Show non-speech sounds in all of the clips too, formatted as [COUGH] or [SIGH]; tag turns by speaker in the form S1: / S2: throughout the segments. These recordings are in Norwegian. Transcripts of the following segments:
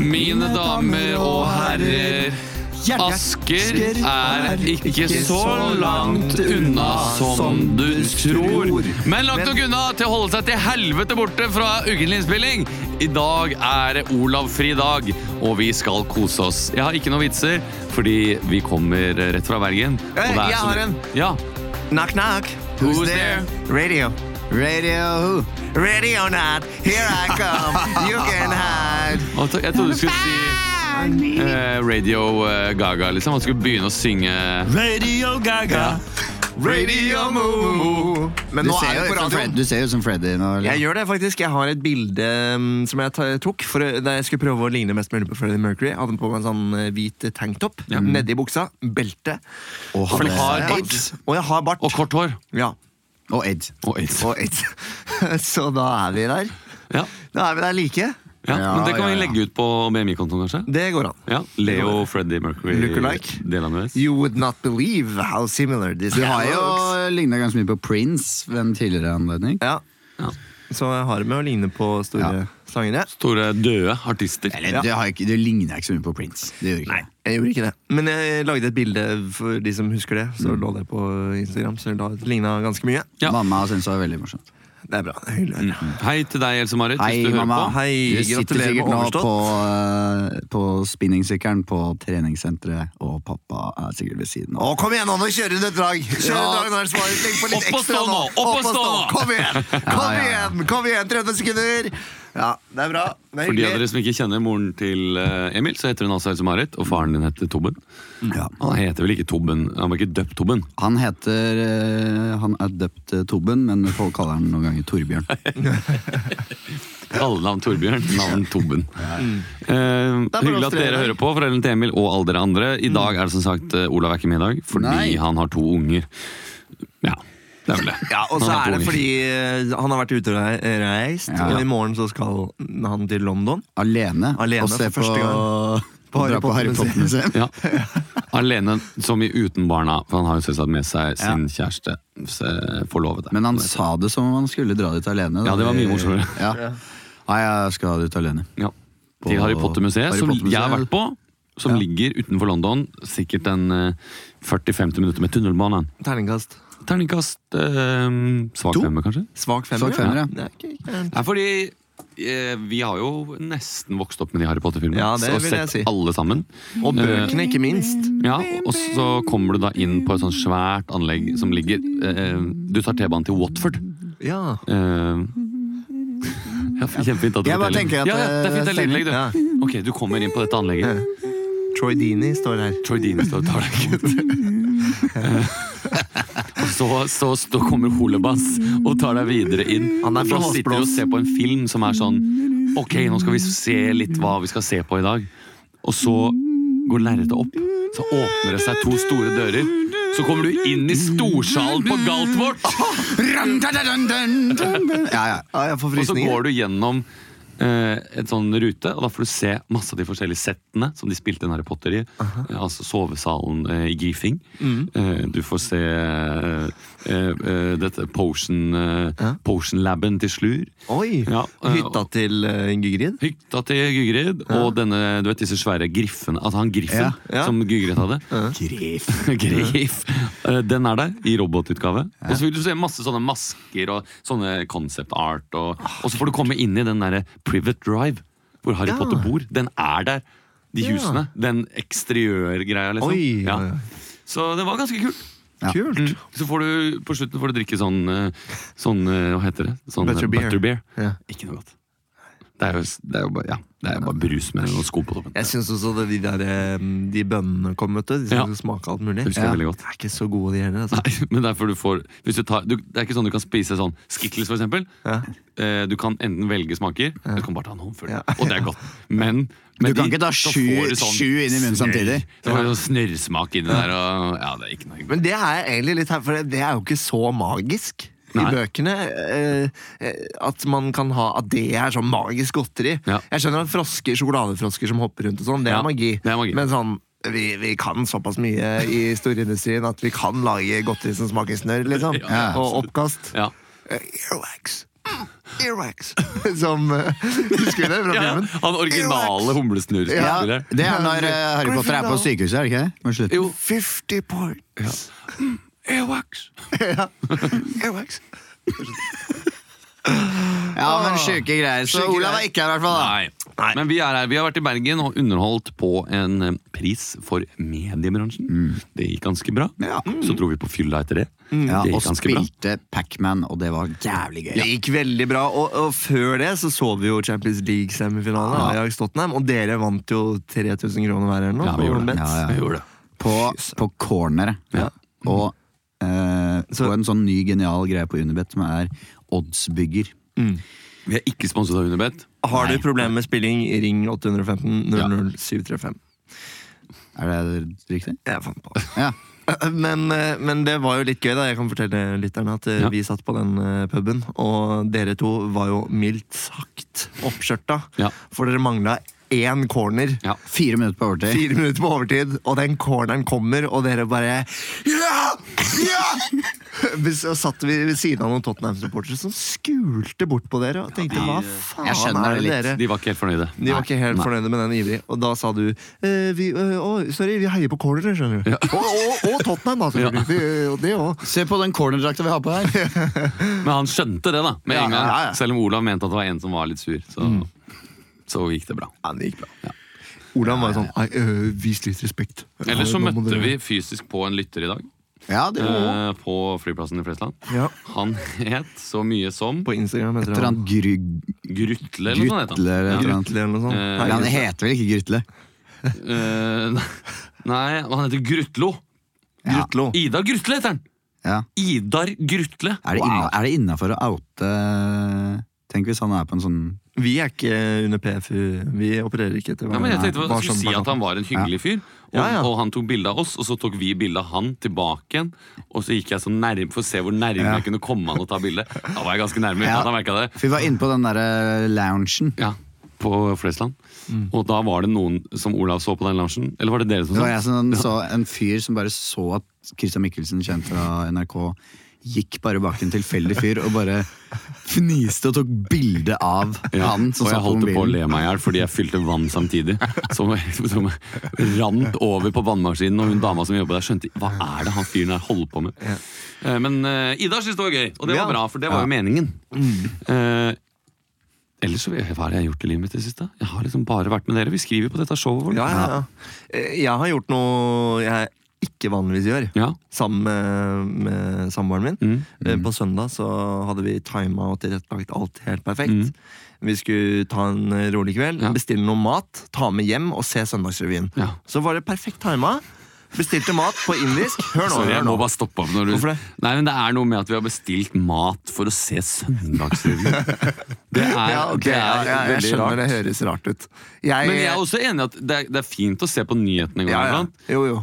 S1: Mine damer og herrer, Asker er ikke så langt unna som du tror. Men langt nok unna til å holde seg til helvete borte fra ukentlig innspilling. I dag er det Olavfri dag, og vi skal kose oss. Jeg har ikke noen vitser, fordi vi kommer rett fra Bergen. og det er
S2: Eh, jeg
S1: som-
S2: har en.
S1: Ja.
S2: Knock, knock. Who's,
S1: Who's
S2: there? Radio. Radio who? Radio not. Here I come. you can hide.
S1: Og to- Jeg trodde du skulle si eh, Radio eh, Gaga, liksom. Han skulle begynne å synge
S3: Radio Gaga.
S2: Radio moo. Men
S4: Du
S2: nå
S4: ser,
S2: er
S4: jo
S2: det
S4: ut
S2: på
S4: som Fred,
S2: radioen.
S4: du ser jo ut som Freddy nå. eller?
S2: Jeg gjør det faktisk. Jeg har et bilde um, som jeg ta- tok for, å- da jeg skulle prøve å ligne mest mulig på Freddie Mercury. Jeg hadde på meg en sånn eh, hvit tanktopp nedi buksa, belte
S4: Og,
S1: For du
S4: hadde-
S1: har bart
S2: AIDS, og jeg har bart.
S1: og kort hår.
S2: Ja,
S4: og aids.
S1: Og aids.
S2: og AIDS. [LAUGHS] Så da er vi der.
S1: Ja.
S2: Da er vi der like.
S1: Ja,
S4: Ja,
S1: men det kan
S4: ja,
S1: vi
S4: ja.
S1: legge ut på BMI-kontoen, kanskje?
S2: Det går an.
S1: Ja, Leo Freddie Mercury.
S2: Lookalike.
S1: Delene deres.
S2: You would not believe how similar this
S4: Du har jo
S2: looks.
S4: ligna ganske mye på Prince ved en tidligere anledning.
S2: Ja.
S1: Ja.
S2: Så jeg har det med å ligne på store
S4: Ja.
S2: slanger. jeg.
S1: Store døde artister.
S4: Eller, du, har ikke, du ligner ikke så mye på Prince. Det gjør du ikke.
S2: Jeg gjorde ikke det. Men jeg lagde et bilde for de som husker det. Så lå det på Instagram. Så det ligna ganske mye.
S1: Ja.
S4: Mamma syns det var veldig morsomt.
S2: Det er bra. det er hyggelig.
S1: Hei til deg, Else Marit.
S4: Hei,
S1: hvis du
S4: mamma.
S1: hører på.
S2: Hei,
S4: du sitter
S2: gratulerer med
S4: sikkert nå
S2: overstått.
S4: på, eh, på spinningsykkelen på treningssenteret, og pappa er sikkert ved siden
S2: Å,
S4: av.
S2: kom igjen, nå, nå kjører du et drag! Kjør et drag, nå er det svaret. Legg på litt
S1: Opp og
S2: ekstra
S1: stå
S2: nå!
S1: nå, opp og stå nå.
S2: Kom igjen! Kom
S4: Ja, ja, ja.
S2: igjen! kom igjen, 30 sekunder! Ja, det er bra. Det er
S1: For de av dere
S2: hyggelig.
S1: som ikke kjenner moren til eh, Emil, så heter hun altså Else Marit, og faren din heter Tobben.
S2: Mm.
S4: Ja.
S1: Han heter vel ikke Tobben, han var ikke døpt Tobben.
S4: Han heter eh, Han er døpt eh, Tobben, men folk kaller han noen ganger Torbjørn.
S1: Kallenavn Torbjørn, navn Tobben. Eh,
S2: Det er bare
S1: hyggelig
S2: oss
S1: at
S2: tre
S1: dere
S2: i dag.
S1: hører på, foreldrene til Emil og alle dere andre. I dag er det som sagt eh, Olav er ikke med i dag, fordi
S4: Nei.
S1: han har to unger. Ja, det er vel det.
S2: Ja, Og så
S1: Han har to
S2: er det
S1: unger.
S2: fordi eh, han har vært ute og rei- reist,
S4: Ja.
S2: og i morgen så skal han til London.
S4: Alene.
S2: Alene
S4: og se
S2: for
S4: på,
S2: første gang.
S4: på Harry Potter-museum.
S1: Ja. Alene som i uten barna, for han har jo selvsagt med seg sin kjæreste, se- forlovede.
S4: Men han sa det som om han skulle dra dit alene. da.
S1: Ja, det var mye morsommere.
S4: Ja. Nei, jeg skal dit alene.
S1: ja. Til
S4: På
S1: Harry Potter-museet,
S4: Harry
S1: som
S4: Potter-museet.
S1: jeg har vært på. Som ligger utenfor London, sikkert en eh, 40-50 minutter med tunnelbanen.
S2: Terningkast.
S1: Terningkast eh, svak
S4: To?
S1: femme, kanskje?
S2: Svak femmer.
S4: Svak femmer, ja.
S2: Det er ikke gærent.
S1: Nei, fordi eh, vi har jo nesten vokst opp med de Harry Potter-filmene.
S2: Ja, det
S1: og
S2: vil jeg si.
S1: sett alle sammen.
S2: Og bøkene, ikke minst.
S1: Ja, og så kommer du da inn på et sånt svært anlegg som ligger eh, Du tar T-banen til Watford.
S2: Ja.
S1: Eh, ja, kjempefint at du
S4: Jeg bare
S1: forteller.
S4: tenker at,
S1: ja, ja, Det er fint det er
S4: eh,
S1: legelig, du.
S2: Ja.
S1: Ok, du kommer inn på dette anlegget.
S2: Troy Dini står her.
S1: Troy Dean står og tar
S4: [LAUGHS]
S1: deg. Og så, så, så kommer Holebass og tar deg videre inn.
S2: Han er
S1: Og så
S2: blås,
S1: sitter du og
S2: blås.
S1: ser på en film som er sånn Ok, nå skal vi se litt hva vi skal se på i dag. Og så går lerretet opp. Så åpner det seg to store dører. Så kommer du inn i storsalen på Galtvort!
S4: Ja, ja.
S2: Ja, jeg får
S1: Og så
S2: frysninger.
S1: går du gjennom eh, et sånn rute, og da får du se masse av de forskjellige settene som de spilte inn Harry Potter i. Eh, altså sovesalen eh, i Gifing.
S2: Mm.
S1: Eh, du får se eh, eh, eh, dette potion, eh, potion laben til Slur.
S2: Oi!
S1: Ja, eh,
S2: Hytta til eh, Ingegrid.
S1: Hytta til Gygrid, og denne, du vet disse svære griffene Altså han griffen
S4: Ja,
S2: ja.
S1: som Gygrid hadde.
S4: Griff.
S1: [LAUGHS] Griff. Eh, Den er der, i robotutgave. Og så vil du se masse sånne masker og sånne concept art. Og, og så får du komme inn i den derre Privet Drive, hvor Harry
S2: Ja.
S1: Potter bor. Den er der. De
S2: Ja.
S1: husene. Den eksteriørgreia, liksom.
S2: Oi,
S1: ja.
S2: ja, ja.
S1: Så det var ganske kult.
S4: Ja.
S2: Kult!
S1: Så får du, på slutten får du drikke sånn, eh, sånn eh, Hva heter det? Sånn eh,
S2: Butterbeer. Ja.
S1: Ikke noe godt. Det er jo, det er jo bare, ja, det er jo bare brus med noen sko på toppen.
S2: Jeg syns også det, de der eh, De bønnene kom, vet du. De
S1: Ja.
S2: skulle smake alt mulig.
S1: Det husker jeg veldig godt.
S2: De er ikke så gode, de heller. Altså.
S1: Nei, men derfor du får hvis du tar, du, Det er ikke sånn du kan spise sånn Skittles, for eksempel.
S2: Ja.
S1: Eh, du kan enten velge smaker, eller du kan bare ta en håndfull.
S2: Ja.
S1: Og det er godt. Men, men
S4: Du kan
S1: de-
S4: ikke ta
S1: så
S4: sju-
S1: får du sånn
S4: sju inn i munnen
S1: snørr.
S4: samtidig.
S1: Så får du sånn snørrsmak inni der, og ja, det er ikke noe hyggelig.
S2: Men det er jeg egentlig litt her, for det- det er jo ikke så magisk. I
S1: Nei.
S2: bøkene eh, eh, At man kan ha At det er sånn magisk godteri.
S1: Ja.
S2: Jeg skjønner at frosker, sjokoladefrosker som hopper rundt og sånn, det, er
S1: Ja,
S2: magi.
S1: det er magi.
S2: Men sånn vi, vi kan såpass mye i storindustrien at vi kan lage godteri som smaker snørr, liksom.
S1: Ja,
S2: og oppkast.
S1: Ja.
S2: Eh, Earwax. Earwax. [LAUGHS] Som eh, Husker du det fra
S1: Ja,
S2: filmen?
S1: han originale
S4: Ja,
S1: humlesnurrspilleren.
S4: det er når eh, Harry Potter er på sykehuset, er det ikke det? Må slutte.
S1: Jo.
S2: 50 points.
S1: Earwax.
S2: Earwax.
S4: Ja, men sjuke greier. Så
S2: Sjuke greier.
S4: Olav er ikke her, i hvert fall. da.
S1: Nei. Men vi er her. Vi har vært i Bergen og underholdt på en eh, pris for mediebransjen. Det gikk ganske bra.
S4: Mm. Ja. Mm.
S1: Så dro vi på fylla etter det.
S4: Ja,
S1: det
S4: og
S1: gikk ganske bra.
S4: spilte Pac-Man, og det var jævlig gøy.
S2: Det gikk veldig bra, og, og før det så så vi jo Champions League-semifinalen. Ajax Tottenham, Og dere vant jo 3000 kroner hver eller noe.
S1: Ja, vi
S2: på
S1: gjorde det.
S2: bets.
S4: Ja, ja.
S1: Vi gjorde det.
S4: På, på corneret. Og eh, på en sånn ny genial greie på Unibet som er oddsbygger.
S1: Vi er ikke sponset av Unibet.
S2: Har du problemer med spilling, ring 815 00735.
S4: Er det riktig?
S2: Jeg fant på. [LAUGHS]
S4: Ja.
S2: Men, eh, men det var jo litt gøy, da. Jeg kan fortelle lytterne at eh,
S1: Ja.
S2: vi satt på den eh, puben, og dere to var jo mildt sagt oppskjørta.
S1: Ja.
S2: For dere mangla én corner.
S1: Ja.
S4: Fire minutter på overtid.
S2: Fire minutter på overtid, og den corneren kommer, og dere bare Ja! Ja! Vi- Så satt vi ved siden av noen Tottenham-supportere som skulte bort på dere og tenkte hva faen
S4: Jeg skjønner
S2: er
S4: det
S2: det
S4: litt.
S2: dere
S1: De var ikke helt fornøyde.
S2: De var ikke helt fornøyde med den ivrig, og da sa du eh, vi, eh, å, Sorry, vi heier på cornere, skjønner du. Og, og, og Tottenham, altså. Vi, eh, og det òg.
S4: Se på den cornerdrakta vi har på her.
S1: Men han skjønte det, da. Med
S2: Ja,
S1: en gang.
S2: ja, ja.
S1: Selv om Olav mente at det var en som var litt sur. Så, så gikk det bra.
S2: Ja, det gikk bra. Olav var jo sånn Nei, eh, vis litt respekt.
S1: Eller så
S2: Nå må
S1: møtte
S2: dere-
S1: vi fysisk på en lytter i dag.
S4: [LAUGHS] Ja, det var
S1: eh, På flyplassen i Flesland.
S2: Ja.
S1: Han het så mye som
S2: På Instagram heter
S4: Etter
S2: han
S4: han Gry...
S1: Grutle, eller noe sånt. het
S4: Grutle, eller et eller
S1: han.
S4: annet.
S2: Grutle eller noe sånt.
S1: Eh,
S2: Nei,
S4: Han heter vel ikke Grytle?
S1: Ja. Eh, [LAUGHS] Nei, han heter Grutlo.
S2: Grutlo.
S1: Ida Grutle heter han!
S4: Ja.
S1: Idar Grutle.
S4: Er det inna- er det innafor å oute Tenk hvis han er på en sånn
S2: Vi er ikke under PFU. Vi opererer ikke etter
S1: Ja, men jeg tenkte
S2: hva
S1: jeg skulle
S2: som- sånn.
S1: si at han var en hyggelig fyr, og,
S2: Ja, ja.
S1: og han tok bilde av oss, og så tok vi bilde av han tilbake igjen. Og så gikk jeg så nærme for å se hvor nærme jeg kunne komme han og ta bilde. Da var jeg ganske nærme. uten
S4: Ja.
S1: at han merket det.
S4: For vi var inne på den derre loungen.
S1: Ja, På Flesland. Og da var det noen som Olav så på den loungen. Eller var det dere som
S4: Det
S1: så?
S4: var jeg som så en fyr som bare så at Christian Mikkelsen, kjent fra NRK, gikk bare bak en tilfeldig fyr og bare fniste og tok bilde av
S1: Ja,
S4: han som
S1: og jeg
S4: satt på
S1: holdt på å
S4: mobilen.
S1: le meg i hjel fordi jeg fylte vann samtidig. Som, som rant over på vannmaskinen, og hun dama som jobba der, skjønte hva er det han fyren her holder på med. Eh, Men eh, Ida syntes det var gøy, og det
S2: Ja. Mm.
S1: var bra, for det var jo meningen. Eh, Ellers så, Hva har jeg gjort i livet mitt i det siste? Jeg har liksom bare vært med dere. Vi skriver jo på dette showet vårt.
S2: Ja, ja, ja. Eh, Jeg har gjort noe jeg ikke vanligvis gjør.
S1: Ja.
S2: Sammen med, med samboeren min.
S1: Mm.
S2: Eh, På søndag så hadde vi tima og tilrettelagt alt helt perfekt. Vi skulle ta en eh, rolig kveld,
S1: Mm. Ja.
S2: bestille noe mat, ta med hjem og se Søndagsrevyen.
S1: Ja.
S2: Så var det perfekt tima. Bestilte mat på indisk. Hør nå.
S1: Sorry,
S2: hør
S1: jeg må
S2: nå.
S1: bare stoppe opp. Når du...
S2: Hvorfor det?
S1: Nei, men Det er noe med at vi har bestilt mat for å se
S2: [LAUGHS]
S1: Søndagsrevyen. Det er,
S2: Ja, ok,
S1: det
S2: ja,
S1: er
S2: ja, jeg
S1: veldig
S2: skjønner
S1: rart.
S2: det høres rart ut.
S1: Men jeg er også enig i at det er, det er fint å se på nyhetene en gang
S2: ja, ja.
S1: iblant.
S2: Jo, jo.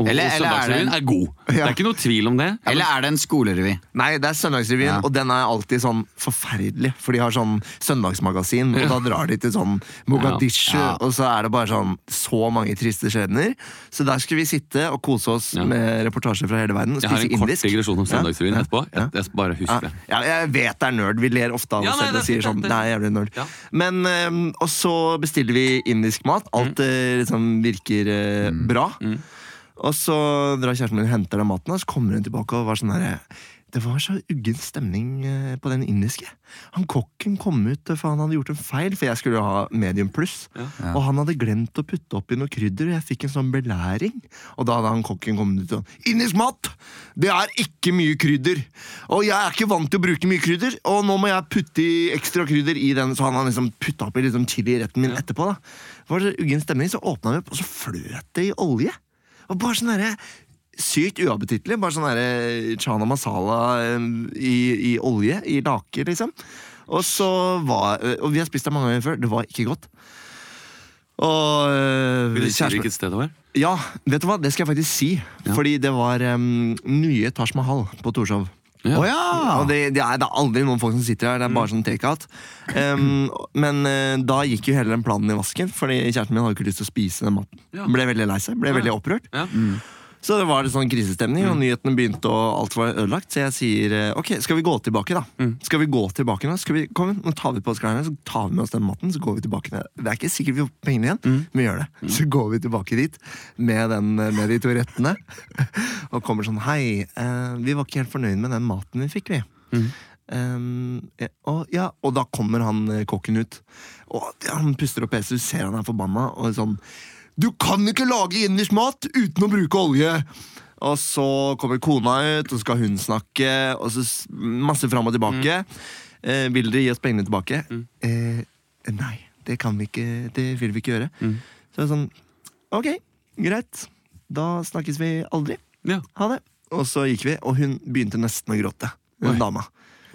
S1: Og og
S4: Eller- eller er det en-
S1: Søndagsrevyen er god. Det er ikke noe tvil om det.
S4: Eller er det en skolerevy?
S2: Nei, det er Søndagsrevyen,
S4: Ja.
S2: og den er alltid sånn forferdelig. For de har sånn søndagsmagasin, og da drar de til sånn Mogadishu,
S4: Ja. Ja.
S2: og så er det bare sånn så mange triste skjebner. Så der skulle vi sitte og kose oss
S1: Ja.
S2: med reportasjer fra hele verden og
S1: Jeg har
S2: spise
S1: en kort
S2: indisk.
S1: digresjon om Søndagsrevyen
S2: Ja,
S1: etterpå.
S2: ja.
S1: Jeg, jeg bare husker det.
S2: Ja, jeg vet det er nerd. Vi ler ofte av
S1: Ja,
S2: oss
S1: nei,
S2: selv og
S1: det er
S2: sier
S1: fint,
S2: sånn.
S1: det-
S2: Det er jævlig nerd.
S1: Ja.
S2: Men, ehm,
S1: Mm.
S2: og så bestiller vi indisk mat. Alt eh, liksom virker eh, bra. Og så drar kjæresten min og henter den maten, og så kommer hun tilbake og var sånn her Det var så uggen stemning eh, på den indiske. Han kokken kom ut eh, for han hadde gjort en feil, for jeg skulle jo ha medium pluss. Og han hadde glemt å putte oppi noe krydder, og jeg fikk en sånn belæring. Og da hadde han kokken kommet ut sånn Indisk mat! Det er ikke mye krydder! Og jeg er ikke vant til å bruke mye krydder, og nå må jeg putte i ekstra krydder i den. Så han hadde liksom putta oppi liksom chiliretten min etterpå. da Det var så uggen stemning, så åpna vi opp, og så fløt det i olje. Og bare sånn derre Sykt uappetittlig. Bare sånn derre chana masala eh, i, i olje, i lake, liksom. Og så var eh, Og vi har spist det mange ganger før. Det var ikke godt. Og eh,
S1: Vil du si
S2: kjæresten-
S1: hvilket sted det var?
S2: Ja, vet du hva? Det skal jeg faktisk si. Fordi det var eh, nye Taj Mahal på Torshov.
S1: Ja. Mm.
S4: Å ja!
S2: Og det, det, er, det er aldri noen folk som sitter her, det er bare sånn takeout. Um, men eh, da gikk jo hele den planen i vasken, Fordi kjæresten min hadde jo ikke lyst til å spise den maten.
S1: Ja.
S2: Ble veldig lei seg, ble veldig opprørt.
S1: Ja.
S2: Så det var litt sånn krisestemning, og nyhetene begynte, og alt var ødelagt. Så jeg sier eh, ok, skal vi gå tilbake, da? Skal vi gå tilbake nå? Skal vi, kom, nå tar vi på oss klærne, så tar vi med oss den maten, så går vi tilbake ned. Det er ikke sikkert vi får pengene igjen, men vi gjør det. Så går vi tilbake dit med, den, med de to rettene, [LAUGHS] og kommer sånn hei, eh, vi var ikke helt fornøyd med den maten vi fikk, vi. Um, ja, og, ja, og da kommer han eh, kokken ut. Og ja, Han puster opp peser, du ser han er forbanna. Og sånn Du kan ikke lage indisk mat uten å bruke olje! Og så kommer kona ut, og skal hun snakke, og så s- masse fram og tilbake. Eh, vil dere gi oss pengene tilbake? Eh, nei, det kan vi ikke. Det vil vi ikke gjøre. Så det er sånn Ok, greit. Da snakkes vi aldri.
S1: Ja.
S2: Ha det. Og så gikk vi, og hun begynte nesten å gråte.
S1: Oi.
S2: Hun dama.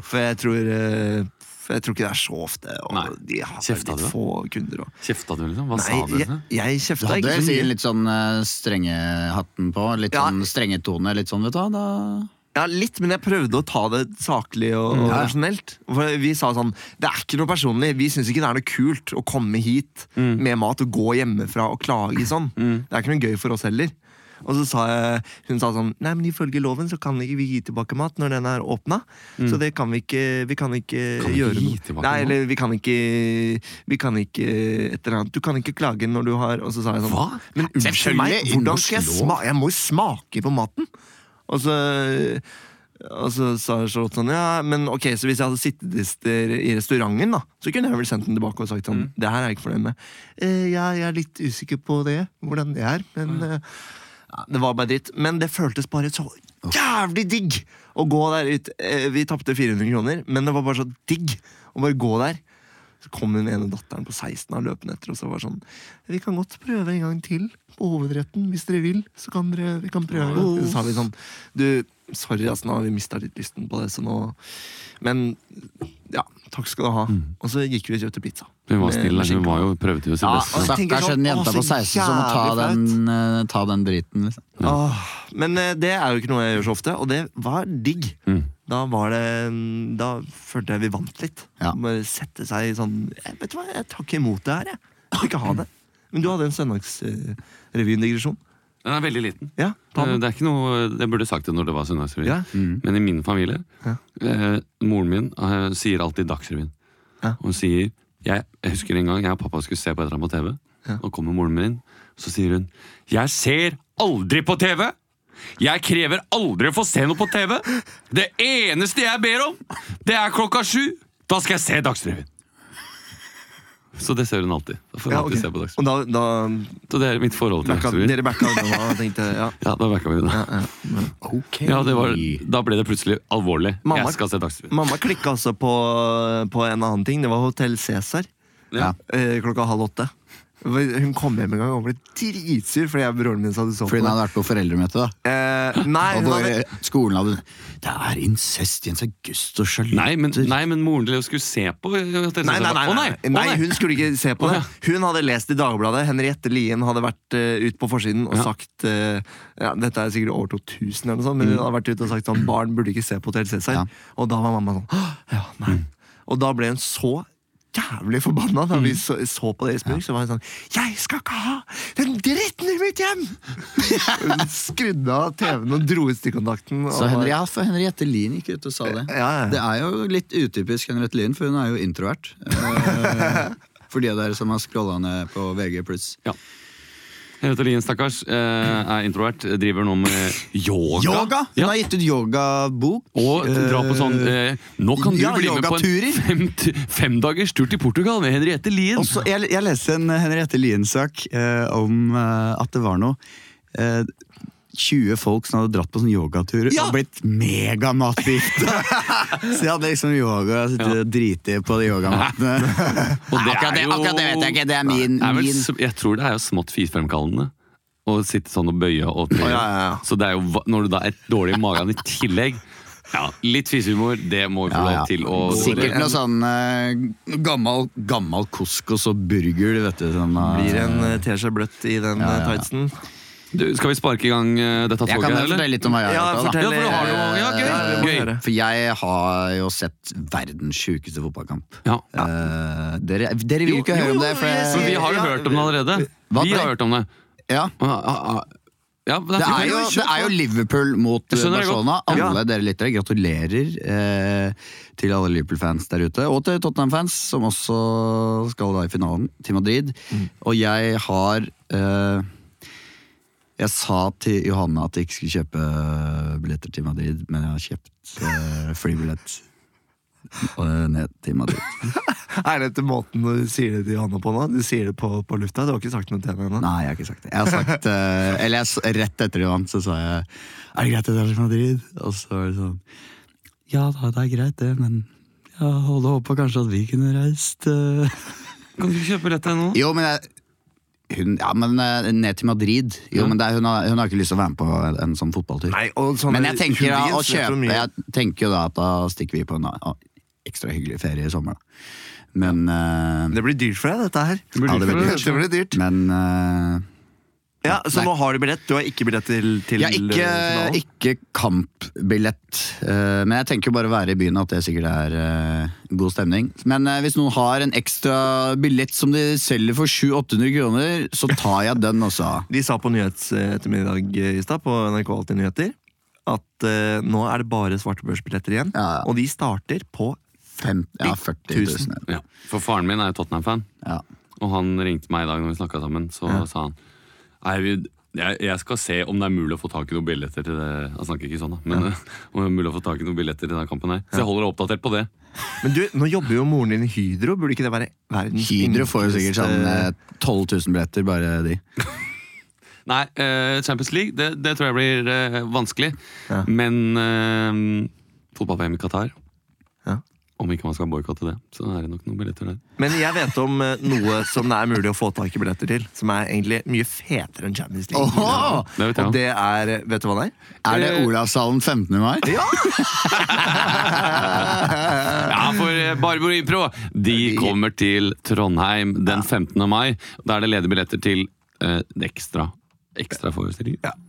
S2: For jeg tror eh, For jeg tror ikke det er så ofte. Og
S1: Nei.
S2: de har
S1: Kjefta
S2: litt
S1: du?
S2: få kunder og
S1: Kjefta du, liksom? Hva
S2: Nei,
S1: sa du?
S2: jeg,
S1: Liksom?
S2: jeg
S4: Du
S2: kjefta
S4: hadde
S2: ikke så
S4: sikkert
S2: mye.
S4: litt sånn eh, strengehatten på. Litt
S2: Ja.
S4: sånn strenge tone. Litt sånn, vet du hva. Da
S2: Ja, litt, men jeg prøvde å ta det saklig og
S1: Mm.
S2: og
S4: Ja, ja.
S2: rasjonelt. For vi sa sånn Det er ikke noe personlig. Vi syns ikke det er noe kult å komme hit
S1: Mm.
S2: med mat og gå hjemmefra og klage sånn. Det er ikke noe gøy for oss heller. Og så sa jeg, hun sa sånn Nei, men ifølge loven så kan ikke vi gi tilbake mat når den er åpna. Så det kan vi ikke Vi kan ikke
S1: Mm. Kan vi
S2: gjøre
S1: ikke gi
S2: noe.
S1: tilbake
S2: Nei,
S1: mat?
S2: eller vi kan ikke Vi kan ikke et eller annet Du kan ikke klage når du har Og så sa jeg sånn
S1: Hva?
S2: Men unnskyld
S4: Selvfølgelig,
S2: meg, hvordan
S4: norsk
S2: skal jeg
S4: lov.
S2: smake? Jeg må jo smake på maten! Og så, og så sa Charlotte sånn Ja, men ok, så hvis jeg hadde sittet i st- i restauranten, da, så kunne jeg vel sendt den tilbake og sagt
S4: Mm.
S2: sånn Det her er jeg ikke fornøyd med. Eh, ja, jeg er litt usikker på det, hvordan det er, men eh, ja, Det var bare dritt. Men det føltes bare så jævlig digg å gå der ut. Eh, vi tapte 400 kroner, men det var bare så digg å bare gå der. Så kom den ene datteren på 16 av løpende etter og så var sånn Vi kan godt prøve en gang til på hovedretten, hvis dere vil. Så kan dere, vi kan prøve. Så sa vi sånn Du, sorry, ass, nå har vi mista litt lysten på det, så nå Men ja, takk skal du ha. Og så gikk vi og kjøpte pizza.
S1: Hun Mm. var
S2: Med-
S1: snill,
S2: med
S1: altså, hun
S2: skinke.
S1: var jo, prøvde jo sitt
S2: Ja,
S1: beste.
S2: og- Jeg tenker
S4: Stakkars
S2: sånn,
S4: den
S2: å,
S4: jenta
S2: så
S4: på 16 som må ta
S2: jævlig
S4: den, eh, ta den driten. Liksom.
S2: Åh, men eh, det er jo ikke noe jeg gjør så ofte, og det var digg.
S1: Mm.
S2: Da var det Da følte jeg vi vant litt.
S4: Ja.
S2: Bare sette seg i sånn jeg, Vet du hva, jeg tar ikke imot det her, jeg. jeg. Vil ikke ha det. Men du hadde en søndagsrevyindigresjon.
S1: Den er veldig liten.
S2: ja, ta
S1: Eh,
S2: den.
S1: Det er ikke noe, jeg burde sagt det når det var Søndagsrevyen.
S2: Ja.
S1: Men i min familie eh, Moren min eh, sier alltid Dagsrevyen.
S2: Ja.
S1: Og Hun sier jeg, jeg husker en gang jeg og pappa skulle se på et eller annet på TV. Og kommer moren min inn, så sier hun 'Jeg ser aldri på TV!' Jeg krever aldri å få se noe på TV! Det eneste jeg ber om, det er klokka sju! Da skal jeg se Dagsrevyen! Så det ser hun alltid. Da får hun
S2: Ja,
S1: alltid
S2: ok.
S1: se på Dagsrevyen.
S2: Og da, da
S1: Så det er mitt forhold til
S2: backa,
S1: Dagsrevyen.
S2: dere backa unna og tenkte
S1: [LAUGHS]
S2: ja.
S1: Ja, da backa vi det.
S4: Okay.
S1: Ja, det var, da ble det plutselig alvorlig.
S2: Mamma-
S1: Jeg skal se Dagsrevyen.
S2: Mamma klikka altså på, på en annen ting. Det var Hotell Cæsar.
S4: Ja.
S2: Eh, klokka halv åtte. Hun kom hjem en gang og ble dritsur fordi jeg og broren min sa du så på
S4: Fordi hun
S2: det.
S4: hadde vært på foreldremøte, da.
S2: Eh, nei,
S4: Og
S2: hun
S4: hvor
S2: hadde
S4: skolen hadde Det er incest, Jens August og Charlotte.
S1: Nei, men, nei, men moren til Leo skulle se på Hotell
S2: Nei, nei, nei,
S1: Cæsar. Å,
S2: nei.
S1: Å,
S2: nei, hun skulle ikke se på
S1: Å,
S2: det. Hun hadde lest i Dagbladet. Henriette Lien hadde vært uh, ut på forsiden og
S1: Ja.
S2: sagt eh, ja, Dette er sikkert over 2000, eller noe sånt, men hun hadde vært ute og sagt sånn barn burde ikke se på Hotell Cæsar.
S4: Ja.
S2: Og da var mamma sånn «Åh, Ja, nei. Og da ble hun så jævlig forbanna da vi så, så på det i Spurk. Så var hun sånn Jeg skal ikke ha den dritten i mitt hjem! hun skrudde av TV-en og dro ut stikkontakten. og
S4: Så Henri,
S2: var-
S4: ja, for Henriette Lien gikk ut og sa det.
S2: Ja, ja.
S4: Det er jo litt utypisk Henriette Lien, for hun er jo [LAUGHS] introvert. Eh, For de av dere som har scrolla ned på VG+.
S1: Ja. Henriette Lien, stakkars, eh, er introvert, driver nå med yoga.
S4: Yoga! Hun
S1: Ja.
S4: har gitt ut yogabok.
S1: Og dra på sånn
S4: Eh,
S1: eh, Nå kan du
S4: ja,
S1: bli med på en
S4: yogaturer.
S1: fem, femdagers tur til Portugal med Henriette Lien.
S4: Og så, jeg, jeg leste en Henriette Lien-sak eh, om eh, at det var noe eh, 20 folk som hadde dratt på sånn yogatur
S1: Ja!
S4: og blitt
S1: [LAUGHS]
S4: megamatforgifta! så de hadde liksom yoga og sittet og driti på de
S1: [LAUGHS]
S4: yogamattene.
S1: Og det
S4: akkurat,
S1: er
S4: det,
S1: jo-
S4: akkurat det vet jeg ikke, det er min,
S1: Det er vel,
S4: min.
S1: s- jeg tror det er jo smått fisefremkallende å sitte sånn og bøye og oppbøye.
S2: Å, ja, ja, ja.
S1: Så det er jo, va- når du da er dårlig i magen i tillegg [LAUGHS] ja, Litt fisehumor, det må vi få
S4: Ja, ja.
S1: lov til å
S4: Sikkert noe sånn eh, gammel, gammel couscous og burger, vet du. Sånn, eh,
S2: Blir en eh, teskje blått i den eh, tightsen.
S1: du, Skal vi sparke i gang eh, dette
S4: jeg kan
S1: toget,
S4: fortelle
S1: eller?
S4: litt om hva jeg
S2: Ja,
S4: har gjort. da.
S2: fortell.
S1: Ja, for du har jo Ja, gøy!
S2: Ja, det må vi
S1: gøy.
S2: gjøre.
S4: For jeg har jo sett verdens sjukeste fotballkamp.
S1: Ja.
S4: Eh, dere, dere vil jo ikke høre om det. For
S1: Men vi har jo
S2: Ja.
S1: hørt om det allerede.
S4: Hva
S1: Vi
S4: for
S1: har
S4: det?
S1: hørt om det.
S4: ja.
S1: Ja, ja, ja, men
S4: det, er jo, det er jo Liverpool mot
S1: altså. Jeg skjønner det
S4: Barcelona.
S1: godt.
S4: Alle dere lyttere, gratulerer eh, til alle Liverpool-fans der ute. Og til Tottenham-fans, som også skal da i finalen til Madrid.
S1: Mm.
S4: Og jeg har eh, Jeg sa til Johanne at jeg ikke skulle kjøpe eh, billetter til Madrid, men jeg har kjøpt eh, flybillett eh, ned til Madrid.
S2: Er dette måten du sier det til Johanne på nå? Du sier det på, på lufta? Du har ikke sagt noe til henne ennå?
S4: Nei, jeg har ikke sagt det. Jeg har sagt, eh, eller jeg, s- Rett etter det vant, så sa jeg Er det greit at jeg drar til Madrid? Og så var det sånn Ja da, det er greit, det, men jeg hadde håpa kanskje at vi kunne reist eh."
S1: Kan du ikke kjøpe rett til nå?
S4: Jo, men jeg hun, ja, men eh, ned til Madrid. Jo, men det, er- hun, har, hun har ikke lyst til å være med på en, en sånn fotballtur.
S2: Nei, og sånne
S4: men jeg tenker da å
S2: hooligans vet hvor
S4: kjøpe
S2: mye-
S4: Jeg tenker jo da at da stikker vi på en a- ekstra hyggelig ferie i sommer, da. Men eh,
S2: Det blir dyrt for deg, dette her.
S1: blir
S4: Ja,
S1: dyrt for deg.
S2: Det blir dyrt.
S4: Men eh,
S2: Ja, så
S4: Nei.
S2: nå har du billett. Du har ikke billett til, til
S4: Ja, ikke,
S2: eh, finalen.
S4: ikke kampbillett. eh, men jeg tenker bare å være i byen, at det sikkert er eh, god stemning. Men eh, hvis noen har en ekstra billett som de selger for 700-800 kroner, så tar jeg den altså. også.
S2: De sa på nyhetsettermiddag eh, i stad på NRK Alltid Nyheter at eh, nå er det bare svartebørsbilletter igjen.
S4: Ja, ja.
S2: Og de starter på
S4: Fem, ja, 40 000.
S1: Ja. For faren min er jo Tottenham-fan.
S4: Ja.
S1: Og han ringte meg i dag når vi snakka sammen, så sa han Eivind, jeg, jeg skal se om det er mulig å få tak i noen billetter til det Han snakker ikke sånn, da. Men [LAUGHS] om det er mulig å få tak i noen billetter til denne kampen her. Så jeg holder deg oppdatert på det.
S2: Men du, nå jobber jo moren din i Hydro. Burde ikke det være verdens
S4: Hydro får jo sikkert
S2: enkleste-
S4: sånn eh, 12 000 billetter, bare de.
S1: Nei, eh, Champions League, det, det tror jeg blir eh, vanskelig.
S2: Ja.
S1: Men eh, fotball-VM i Qatar
S2: Ja.
S1: Om ikke man skal boikotte det, så er det nok noen billetter der.
S2: Men jeg vet om eh, noe som det er mulig å få tak i billetter til. Som er egentlig mye fetere enn Champions League.
S4: Åhå!
S1: Det vet jeg
S2: Og
S1: om.
S2: det er Vet du hva det er?
S4: Er det
S2: Eh,
S4: Olavshallen 15. mai?
S1: Ja, for eh, Barbro Impro De kommer til Trondheim den 15. mai. Da er det ledige billetter til eh, ekstra ekstraforestillinger.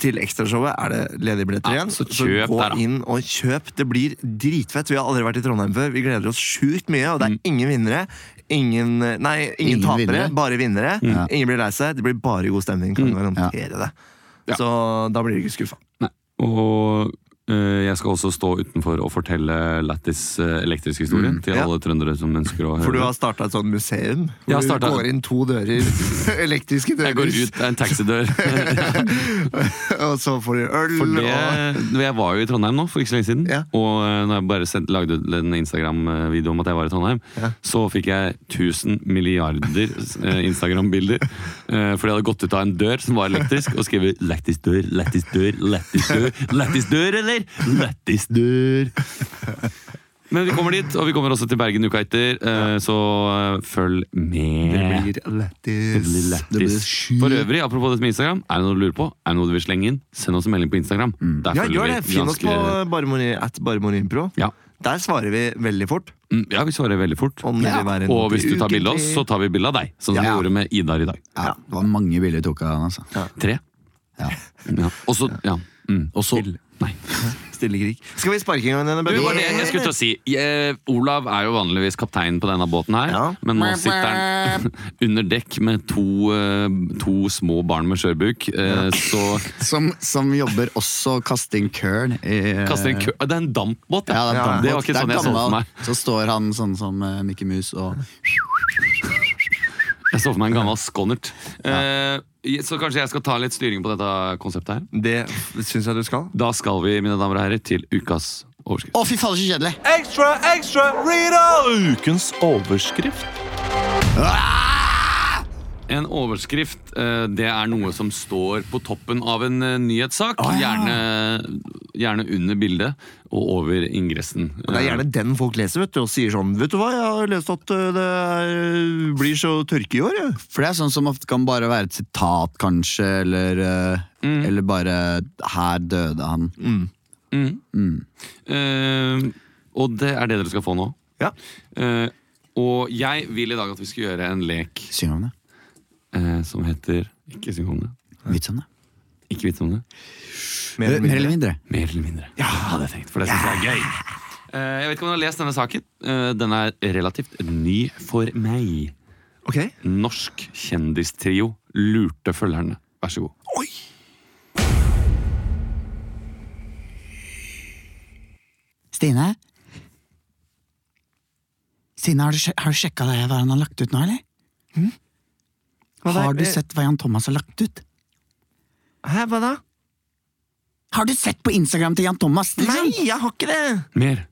S2: Til ekstrashowet er det ledige billetter
S1: Ja,
S2: igjen.
S1: så kjøp
S2: gå
S1: der, da.
S2: inn og kjøp. Det blir dritfett. Vi har aldri vært i Trondheim før. Vi gleder oss sjukt mye, og det
S1: Mm.
S2: er ingen vinnere. Ingen, nei, ingen,
S4: Ingen
S2: tapere,
S4: vinnere.
S2: bare vinnere.
S4: Ja.
S2: Ingen blir lei seg. Det blir bare god stemning. Kan garantere det.
S1: Mm. Ja.
S2: Så da blir du ikke skuffa.
S1: Nei. Og eh, jeg skal også stå utenfor og fortelle Lattis uh, elektriske historie til
S2: Mm, ja.
S1: alle trøndere som ønsker å høre.
S2: For du
S1: det.
S2: har starta et sånt museum
S1: Jeg har
S2: hvor du
S1: startet-
S2: går inn to dører, [LAUGHS] elektriske dører,
S1: Jeg går ut, det er en taxidør.
S2: [LAUGHS]
S1: [LAUGHS]
S2: og så får du øl.
S1: For det,
S2: og...
S1: jeg var jo i Trondheim nå for ikke så lenge siden.
S2: Ja.
S1: Og eh, når jeg bare sendt, lagde ut en Instagram-video om at jeg var i Trondheim, så fikk jeg 1000 milliarder eh, Instagram-bilder. eh, fordi jeg hadde gått ut av en dør som var elektrisk, og skrevet 'Lættis dør, lættis dør, lættis dør'. Lættis dør, eller? Lættis dør. Men vi kommer dit, og vi kommer også til Bergen uka etter, eh, så eh, følg med.
S2: Det blir lættis.
S1: Blir
S4: Det blir
S1: lættis.
S4: sjukt.
S1: For øvrig, apropos dette med Instagram, er det noe du lurer på? Er det noe du vil slenge inn? Send oss en melding på Instagram. Der
S2: Ja,
S1: følger
S2: gjør
S1: vi
S2: det. Finn oss på uh, Barmoni- at barmonimpro.
S1: ja.
S2: Der svarer vi veldig fort.
S1: Mm, ja, vi svarer veldig fort.
S2: Om det
S4: Ja.
S2: vil være
S1: Og
S2: noe
S1: hvis du tar bilde av oss,
S2: ukentlig.
S1: så tar vi bilde av deg. Sånn som vi
S4: Ja.
S1: gjorde med Idar i dag.
S4: Ja, det var mange bilder vi tok av den, altså.
S1: Tre.
S4: Ja.
S1: Ja. Og så ja. mm.
S4: Og så
S1: Nei.
S2: Stille krig. Skal vi sparke en gang denne
S1: Det var
S2: babyen?
S1: det jeg skulle til å si. Eh, Olav er jo vanligvis kaptein på denne båten her,
S2: Ja.
S1: men nå sitter han [LAUGHS] under dekk med to, eh, to små barn med skjørbuk. Eh, så
S4: som, som jobber også kasting køl. i- eh,
S1: kaster en kø Det er en dampbåt,
S4: Ja, det er
S2: Ja,
S4: gammelt.
S1: det var ikke
S4: Det er
S1: sånn jeg så for
S4: gammelt.
S1: meg.
S4: Så står han sånn som eh, Mickey Mouse og
S1: Jeg så for meg en gammel skonnert. Eh, Så kanskje jeg skal ta litt styring på dette konseptet her?
S2: Det syns jeg du skal.
S1: Da skal vi, mine damer og herrer, til ukas overskrift.
S5: Å, fy fader, så kjedelig!
S6: Ekstra, ekstra, Rita! Ukens overskrift.
S1: En overskrift, eh, det er noe som står på toppen av en eh, nyhetssak. Gjerne, gjerne under bildet og over ingressen.
S2: Det er gjerne den folk leser vet du, og sier sånn Vet du hva, jeg har lest at øh, det er, blir så tørke i år. jeg».
S5: For det er sånn som ofte kan bare være et sitat, kanskje, eller, eh, eller bare 'her døde han'.
S1: Eh, og det er det dere skal få nå.
S2: Ja.
S1: Eh, og jeg vil i dag at vi skal gjøre en lek
S5: Syng om det.
S1: eh, som heter Ikke syng om det.
S5: Vits om det.
S1: Ikke vits om det.
S2: Mer eller
S5: Mer
S2: mindre.
S5: eller mindre.
S1: Mer eller mindre. Ja, hadde jeg tenkt, for det synes jeg er gøy. Eh, Jeg vet ikke om du har lest denne saken. Eh, Den er relativt ny for meg.
S2: Ok.
S1: Norsk kjendistrio lurte følgerne. Vær så god.
S4: Stine? Stine, har du, sje- har du sjekka det, hva han har lagt ut nå, eller?
S2: Hva da?
S4: Har du
S2: Eh,
S4: sett hva Jan Thomas har lagt ut?
S2: Hæ, hva da?
S4: Har du sett på Instagram til Jan Thomas?
S2: Nei,
S4: Liksom?
S2: jeg har ikke det!
S1: Mer.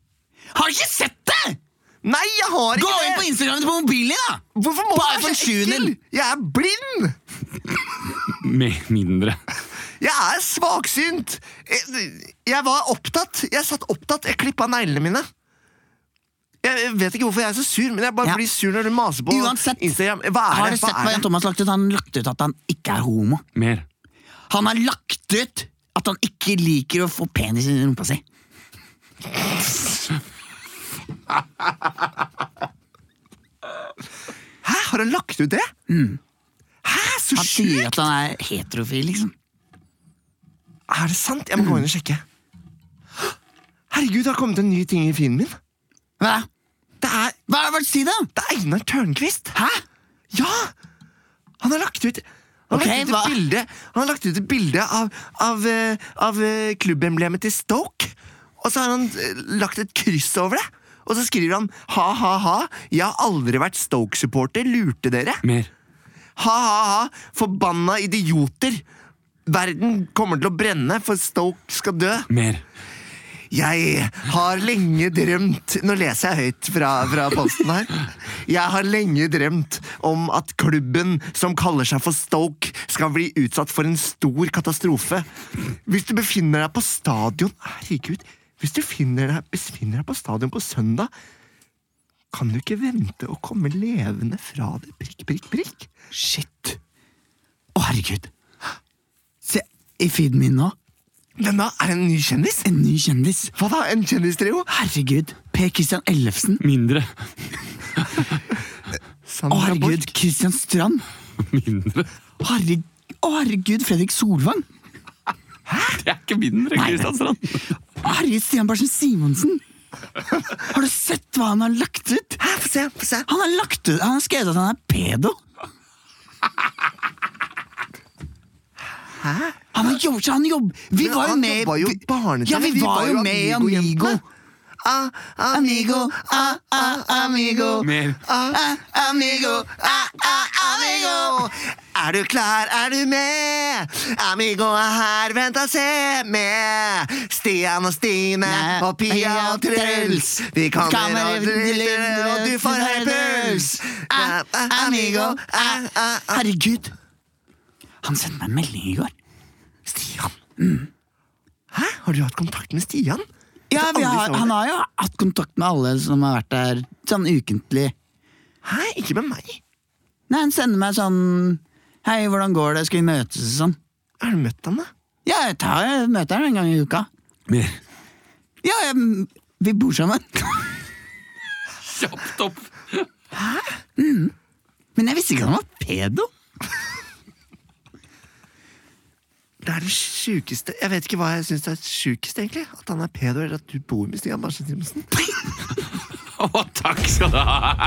S4: Har du ikke sett det?!
S2: Nei, jeg har
S4: Gå
S2: ikke
S4: inn på
S2: det!
S4: Instagramen på mobilen din, da!
S2: Hvorfor må du
S4: Bare
S2: være
S4: for
S2: så ekkel?
S4: sjuende.
S2: Jeg er blind!
S1: Mer mindre.
S2: Jeg er svaksynt! Jeg, jeg var opptatt. Jeg satt opptatt. Jeg klippa neglene mine. Jeg vet ikke hvorfor jeg er så sur, men jeg bare
S4: Ja.
S2: blir sur når du maser på
S4: Uansett,
S2: Instagram. Hva er
S4: Har
S2: det?
S4: du sett
S2: Hva
S4: hva
S2: er
S4: Jan
S2: det?
S4: Thomas har lagt ut? Han har lagt ut at han ikke er homo.
S1: Mer.
S4: Han har lagt ut at han ikke liker å få penis i rumpa si.
S2: Hæ, har han lagt ut det? Hæ, så
S4: Mm. Han sier
S2: sjukt!
S4: at han er heterofil, liksom.
S2: Er det sant? Jeg må gå inn og sjekke. Herregud, det har kommet en ny ting i filmen min.
S4: Hva?
S2: Det er,
S4: Hva er det du sier, da?
S2: det er Einar Tørnquist!
S4: Hæ?
S2: Ja! Han har lagt ut han har,
S4: Ok,
S2: lagt ut
S4: hva?
S2: et bilde, han har lagt ut et bilde av, av, eh, av eh, klubbemblemet til Stoke. Og så har han eh, lagt et kryss over det. Og så skriver han ha-ha-ha, jeg har aldri vært Stoke-supporter, lurte dere.
S1: Mer.
S2: Ha-ha-ha, forbanna idioter. Verden kommer til å brenne, for Stoke skal dø.
S1: Mer.
S2: Jeg har lenge drømt Nå leser jeg høyt fra, fra posten her. Jeg har lenge drømt om at klubben som kaller seg for Stoke, skal bli utsatt for en stor katastrofe. Hvis du befinner deg på stadion Herregud. Hvis du finner deg, befinner deg på stadion på søndag, kan du ikke vente å komme levende fra det, prikk, prikk, prikk?
S4: Shit. Å, herregud. Se i feeden min nå.
S2: Denne er en ny kjendis.
S4: En ny kjendis.
S2: Hva da? En kjendistrio?
S4: Herregud. Per Christian Ellefsen.
S1: Mindre. [LAUGHS]
S4: Å,
S2: Sandra
S4: herregud.
S2: Borch.
S4: Christian
S2: [LAUGHS]
S4: Strand.
S1: Mindre.
S4: Å, herreg- Å, herregud. Fredrik Solvang.
S1: Det er ikke mindre, Kristian Strand.
S4: Å, herregud. Stian
S2: [LAUGHS]
S4: Bersen Simonsen. Har du sett hva han har lagt ut?
S2: Hæ, Få se, få se.
S4: Han har, lagt ut, han har skrevet at han er pedo. Hæ? Han har jobbet, han jobb, vi
S2: Men
S4: var jo
S2: han
S4: med
S2: jobba jo
S4: vi-
S2: barne-TV.
S4: Ja, vi, var jo med i Amigo.
S2: Amigo-jentene. Ah,
S4: Amigo, ah, ah, amigo.
S1: Mer.
S4: Ah, amigo, ah, ah, amigo.
S2: Amigo! Er du klar, er du med? Amigo er her, vent og se med. Stian og Stine
S4: Nei,
S2: og Pia og Truls. Vi kommer og driller, og du får høy puls.
S4: Ah, ah, Amigo, ah,
S2: ah, ah.
S4: Herregud. Han sendte meg en melding i går.
S2: Stian? Hæ? Har du hatt kontakt med Stian?
S4: Mm. Ja,
S2: Aldri
S4: vi har,
S2: så det.
S4: Han har jo hatt kontakt med alle som har vært der sånn ukentlig.
S2: Hæ? Ikke med meg.
S4: Nei, Han sender meg sånn 'Hei, hvordan går det? Skal vi møtes?' og sånn.
S2: Har du møtt ham, da?
S4: Ja, jeg tar jeg møter han en gang i uka.
S1: Mer.
S4: Ja, jeg, vi bor sammen. [LAUGHS]
S1: Kjapt opp.
S4: Men jeg visste ikke at han var pedo.
S2: Det er det sjukeste Jeg vet ikke hva jeg syns er sjukest, egentlig. At han er pedo, eller at du bor med Stian Barsen Simonsen.
S1: Å, takk skal du ha!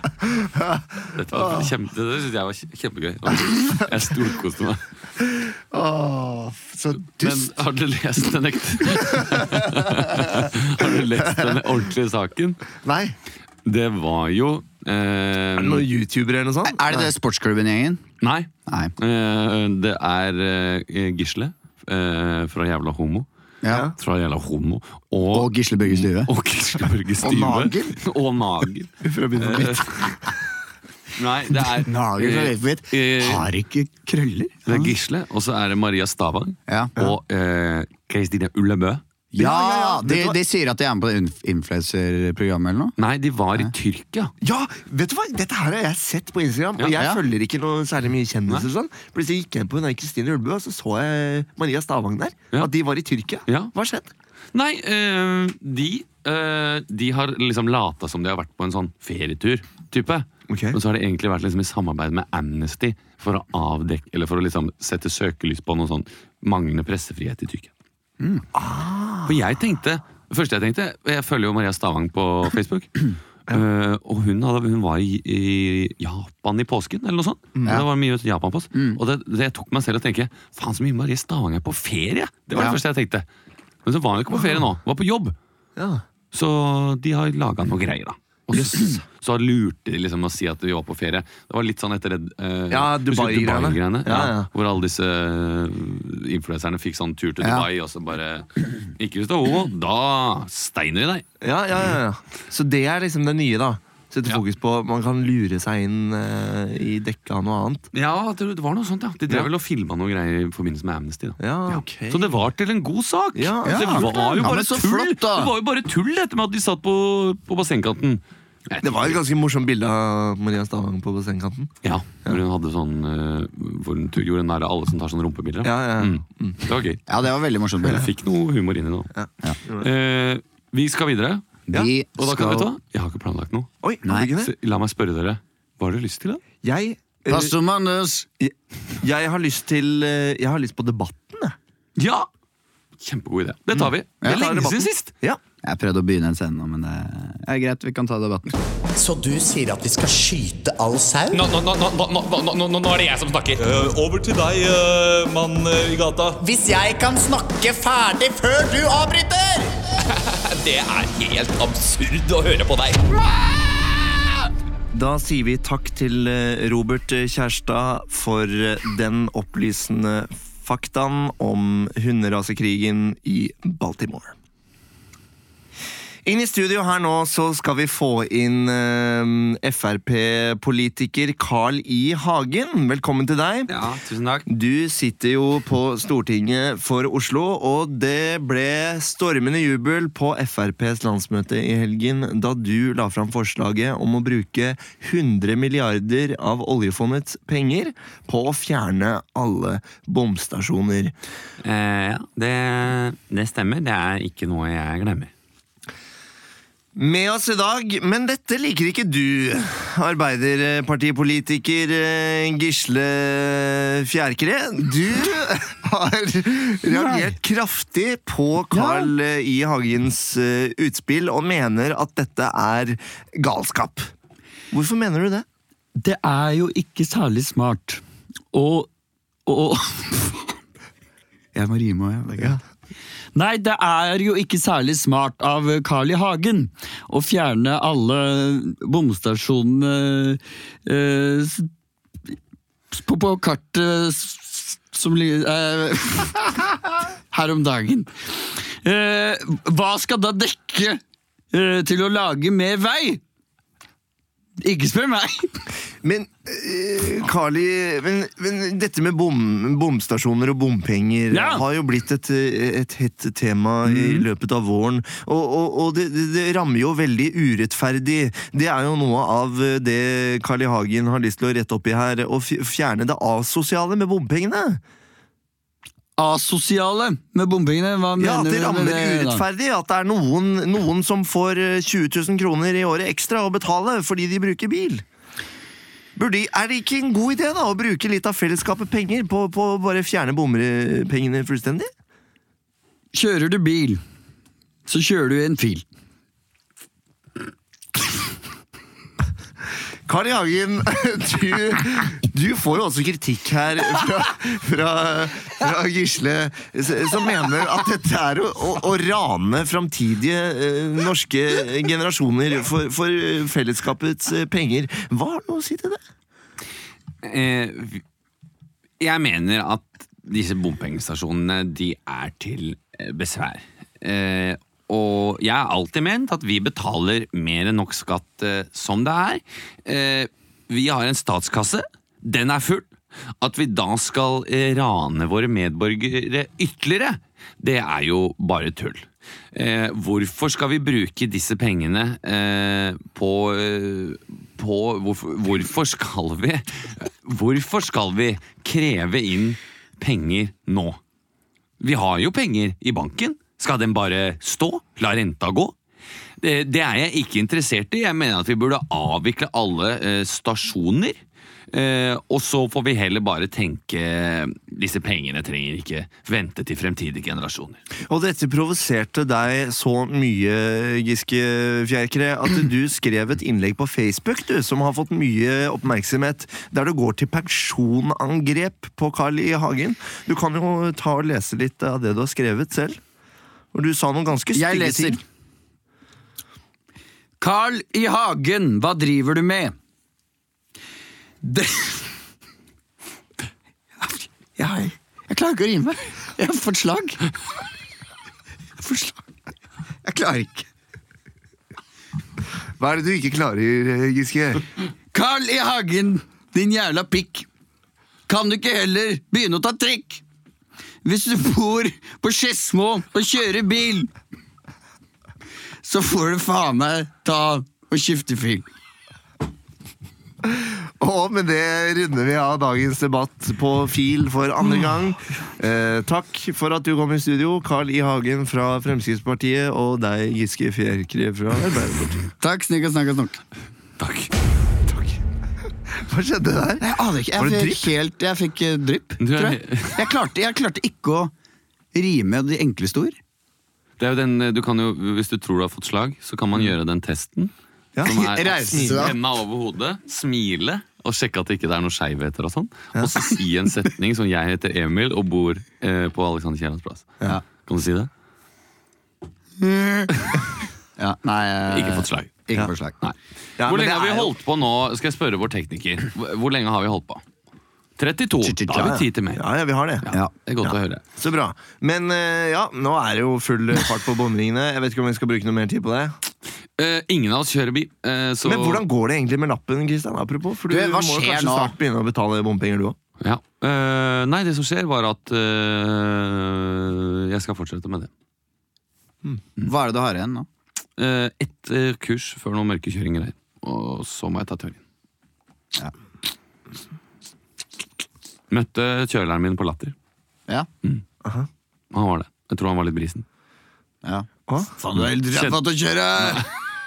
S1: Dette var kjempe, det syns jeg var kje- kjempegøy. Jeg storkoste meg.
S2: Åh, så
S1: Men
S2: dust.
S1: har du lest den [LAUGHS] ekte Har du lest den ordentlige saken?
S2: Nei.
S1: Det var jo Eh,
S2: Er det noen youtubere eller noe sånt?
S4: Er det det sportsklubben-gjengen?
S1: nei.
S4: Nei.
S1: Eh, det er eh, Gisle eh, fra Jævla Homo.
S4: Ja.
S2: Ja.
S1: Fra Jævla Homo.
S4: Og Gisle Børge Stue.
S1: Og Gisle Børge Stue.
S2: Nagel.
S1: [LAUGHS] Og Nagel.
S2: For å begynne på nytt.
S1: Nei, det er
S4: Nagel fra
S1: eh,
S4: Løyfebitt
S1: eh,
S4: har ikke krøller.
S1: Det er Gisle, og så er det Maria Stavang.
S4: Ja.
S1: Og eh, Kristine Ullebø.
S4: [LAUGHS] Ja,
S2: ja, ja.
S4: De,
S2: Vet du hva?
S4: de sier at de er med på det inf- influenserprogrammet eller noe.
S1: Nei, de var i Tyrkia.
S2: Ja, vet du hva? Dette her har jeg sett på Instagram, og
S1: Ja,
S2: jeg
S4: ja.
S2: følger ikke noe særlig mye kjendiser. og Sånn. Plutselig gikk jeg inn på hun der Kristine Ulbø, og så så jeg Maria Stavang der.
S1: Ja.
S2: At de var i Tyrkia.
S1: Ja.
S2: Hva har skjedd?
S1: Nei, eh, de eh, De har liksom lata som de har vært på en sånn ferietur. Type.
S2: Ok.
S1: Og så har de egentlig vært liksom i samarbeid med Amnesty for å avdekke Eller for å liksom sette søkelys på noe sånn manglende pressefrihet i Tyrkia. For jeg tenkte Det første jeg tenkte Jeg følger jo Maria Stavang på Facebook. eh, og hun, hadde, hun var i, i Japan i påsken, eller noe sånt. Det var mye Japan-post. Og det, det jeg tok meg selv og tenkte Faen, så mye Marie Stavang er på ferie! Det var
S4: Ja.
S1: det første jeg tenkte. Men så var hun ikke på ferie nå. Hun var på jobb.
S2: Ja.
S1: Så de har laga noe greier, da. Og så, så lurte de liksom å si at vi var på ferie. Det var litt sånn etter det eh,
S2: Ja,
S1: husker du
S2: Dubai-greiene?
S1: Dubai-greiene? ja,
S2: Ja, ja.
S1: Hvor alle disse eh, influenserne fikk sånn tur til
S4: Ja.
S1: Dubai, og så bare Ikke hvis du er homo, da steiner vi deg!
S2: Ja, ja, ja, ja. Så det er liksom det nye, da. Sette
S1: Ja.
S2: fokus på Man kan lure seg inn eh, i dekka av noe annet.
S1: Ja, det det var noe sånt, ja. De
S2: Ja.
S1: drev vel og filma noe greier i forbindelse med Amnesty. da.
S2: Ja, ok.
S1: Så det var til en god sak!
S2: Ja,
S1: det
S4: ja.
S1: var jo bare
S4: Ja, men så
S1: tull!
S4: flott, da.
S1: det var jo bare tull dette med at de satt på, på bassengkanten. Jeg
S2: Det var et ganske morsomt bilde av Maria Stavang på bassengkanten.
S1: Ja, hvor hun hadde sånn eh, Hvor hun gjorde narr av alle som tar sånne rumpebilder.
S2: Ja, ja.
S1: Mm. Det var gøy.
S4: Ja, det var veldig morsomt.
S1: Jeg fikk noe humor inni nå. Eh, vi skal videre.
S4: De
S1: Og da kan
S4: skal
S1: vet du hva? Jeg har ikke planlagt noe.
S2: Oi,
S4: Nei,
S2: Nei,
S1: Så la meg spørre dere. Hva har dere lyst til? da?
S2: jeg, eh,
S4: Pass om Anders!
S2: jeg har lyst til eh, Jeg har lyst på debatten, jeg.
S1: Ja! Kjempegod idé. Det tar vi. Det
S4: Ja,
S1: er
S4: ta
S1: lenge
S4: debatten.
S1: siden sist!
S2: Ja.
S4: Jeg prøvde å begynne en scene nå, men det er greit. Vi kan ta debatten.
S7: Så du sier at vi skal skyte all sau?
S8: Nå, nå, nå, nå, nå, nå, nå, nå, nå er det jeg som snakker.
S3: Eh, over til deg, eh, mann eh, i gata.
S7: Hvis jeg kan snakke ferdig før du avbryter!
S8: Det er helt absurd å høre på deg.
S2: Da sier vi takk til eh, Robert eh, Kjærstad for eh, den opplysende faktaen om hunderasekrigen i Baltimore. Inn i studio her nå så skal vi få inn eh, Frp-politiker Carl I. Hagen. Velkommen til deg.
S1: Ja, tusen takk.
S2: Du sitter jo på Stortinget for Oslo, og det ble stormende jubel på FrPs landsmøte i helgen da du la fram forslaget om å bruke 100 milliarder av oljefondets penger på å fjerne alle bomstasjoner.
S1: ja, det, stemmer. Det er ikke noe jeg glemmer.
S2: Med oss i dag, men dette liker ikke du, arbeiderpartipolitiker eh, Gisle Fjærkre. Du har reagert kraftig på Carl eh, I. Hagens eh, utspill og mener at dette er galskap. Hvorfor mener du det?
S9: det er jo ikke særlig smart. Og, og
S4: Jeg må rime òg, jeg. Ja.
S9: Nei, det er jo ikke særlig smart av Carl I. Hagen å fjerne alle bomstasjonene eh, s- på, på kartet s- s- som li- eh, [LAUGHS] Her om dagen. Eh, hva skal da dekke eh, til å lage mer vei? Ikke spør meg! [LAUGHS]
S2: Men eh, Carli, men, men dette med bom, bomstasjoner og bompenger
S9: Ja.
S2: har jo blitt et, eh, et hett tema i løpet av våren. Og, og, og det, det, det rammer jo veldig urettferdig. Det er jo noe av eh, det Carl I. Hagen har lyst til å rette opp i her. Å fj- fjerne det asosiale med bompengene.
S9: Asosiale med bombingene, hva
S2: Ja,
S9: mener
S2: At det
S9: du med
S2: rammer
S9: det? da?
S2: urettferdig. At det er noen, noen som får eh, 20 000 kroner i året ekstra å betale fordi de bruker bil. Burde, er det ikke en god idé da å bruke litt av fellesskapet penger på på å bare fjerne bommerpengene fullstendig?
S9: Kjører du bil, så kjører du i en fil.
S2: Kari Hagen, [LAUGHS] du, Du får jo også kritikk her fra, fra, fra Gisle, s- som mener at dette er å, å, å rane framtidige eh, norske generasjoner for, for eh, fellesskapets eh, penger. Hva har du å si til det?
S1: Eh, vi- jeg mener at disse bompengestasjonene de er til eh, besvær. Eh, og jeg har alltid ment at vi betaler mer enn nok skatt eh, som det er. Eh, vi har en statskasse. Den er full. At vi da skal eh, rane våre medborgere ytterligere, det er jo bare tull. Eh, hvorfor skal vi bruke disse pengene eh, på, eh, på hvorfor, hvorfor skal vi Hvorfor skal vi kreve inn penger nå? Vi har jo penger i banken. Skal den bare stå? La renta gå? Det, det er jeg ikke interessert i. Jeg mener at vi burde avvikle alle eh, stasjoner. Eh, og så får vi heller bare tenke eh, disse pengene trenger ikke vente til fremtidige generasjoner.
S2: Og dette provoserte deg så mye, Giske Fjerkre,
S4: [CLEARS THROAT]
S2: at du skrev et innlegg på Facebook du, som har fått mye oppmerksomhet, der du går til pensjonangrep på Carl I. Hagen. Du kan jo ta og lese litt av det du har skrevet selv. Og du sa noen ganske
S4: Jeg
S2: stygge
S4: leser.
S2: ting.
S4: Carl i Hagen, hva driver du med? Det Jeg, jeg klarer ikke å rime. Jeg har fått slag. Jeg får slag. Jeg klarer ikke.
S2: Hva er det du ikke klarer, Giske?
S4: Carl i Hagen, din jævla pikk. Kan du ikke heller begynne å ta trikk? Hvis du bor på Skedsmo og kjører bil, så får du faen meg ta og skifte fil.
S2: Og med det runder vi av dagens debatt på fil for andre
S1: Mm.
S2: gang. Eh, takk for at du kom i studio, Carl I. Hagen fra Fremskrittspartiet og deg, Giske Fjerkre fra Arbeiderpartiet.
S4: Takk, snikka, snakka, snakk.
S1: Takk.
S2: Hva skjedde der?
S4: Jeg aner ikke.
S2: Var det
S4: Jeg fikk, helt, jeg fikk eh, drypp,
S1: Du er-
S4: tror jeg. Jeg klarte, jeg klarte ikke å rime de enkleste ord.
S1: Det er jo den, eh, du kan jo, hvis du tror du har fått slag, så kan man gjøre den testen.
S2: Ja.
S1: Som er å
S4: Reise
S1: smile-
S4: deg.
S1: Henda over hodet, smile og sjekke at det ikke er noen skeivheter og sånn. Og så si en setning som 'jeg heter Emil og bor eh, på Alexander Kiellands plass'.
S4: Ja.
S1: Kan du si det?
S4: Ja, nei, eh,
S1: Ikke fått slag.
S4: Ikke fått slag. Nei.
S2: Ja,
S1: Hvor
S2: men
S1: lenge
S2: det
S1: har vi
S2: er jo-
S1: holdt på nå? Skal jeg spørre vår tekniker. Hvor- Hvor lenge har vi holdt på? 32. Da har vi tid til mer.
S2: Ja, ja, vi har det.
S4: Ja.
S1: Det er godt å høre.
S2: Så bra. Men eh, ja, nå er det jo full fart på bomringene. Jeg vet ikke om vi skal bruke noe mer tid på det.
S1: Eh, ingen av oss kjører bil, eh, så
S2: Men hvordan går det egentlig med lappen, Kristian? Apropos, for du,
S4: Du, hva
S2: må jo
S4: skjer
S2: kanskje
S4: nå?
S2: snart begynne å betale bompenger, du òg.
S1: ja. Eh, Nei, det som skjer, var at eh, jeg skal fortsette med det.
S4: Hva er det du har igjen nå?
S1: Eh, ett eh, kurs før noen mørke kjøringer her. Og så må jeg ta teorien. Møtte kjøleren min på Latter.
S4: Ja.
S1: Han var det. Jeg tror han var litt brisen.
S4: ja.
S2: Hva?
S4: Faen, du er helt ræva til å kjøre!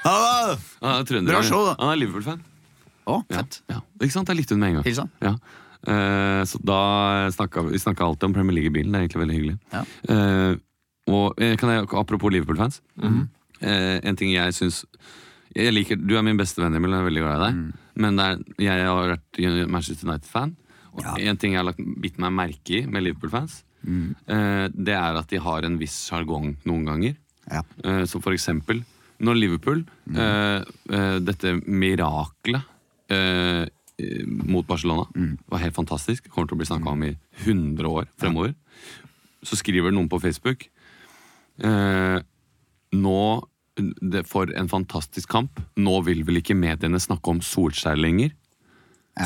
S4: Hallo!
S1: Han er, trønder.
S4: Bra show, da.
S1: Han er Liverpool-fan.
S4: Å,
S1: Ja.
S4: fett.
S1: Ja. Ikke sant? Jeg likte hun med en gang.
S4: Hilsa.
S1: Ja. Eh, så da snakka vi snakket alltid om Premier League-bilen. Det er egentlig veldig hyggelig.
S4: Ja.
S1: Eh, og eh, kan jeg, Apropos Liverpool-fans. eh, en ting jeg syns jeg liker, Du er min beste venn, Emil. og Jeg er veldig glad i deg. Men det er, jeg har vært Manchester United-fan. Og en ting jeg har lagt, bitt meg merke i med Liverpool-fans, eh, det er at de har en viss sjargong noen ganger.
S4: Ja.
S1: Eh, Som for eksempel når Liverpool eh, eh, Dette miraklet eh, eh, mot Barcelona var helt fantastisk. Kommer til å bli snakka om i 100 år fremover. Så skriver noen på Facebook eh, Nå det, For en fantastisk kamp. Nå vil vel ikke mediene snakke om Solskjær lenger?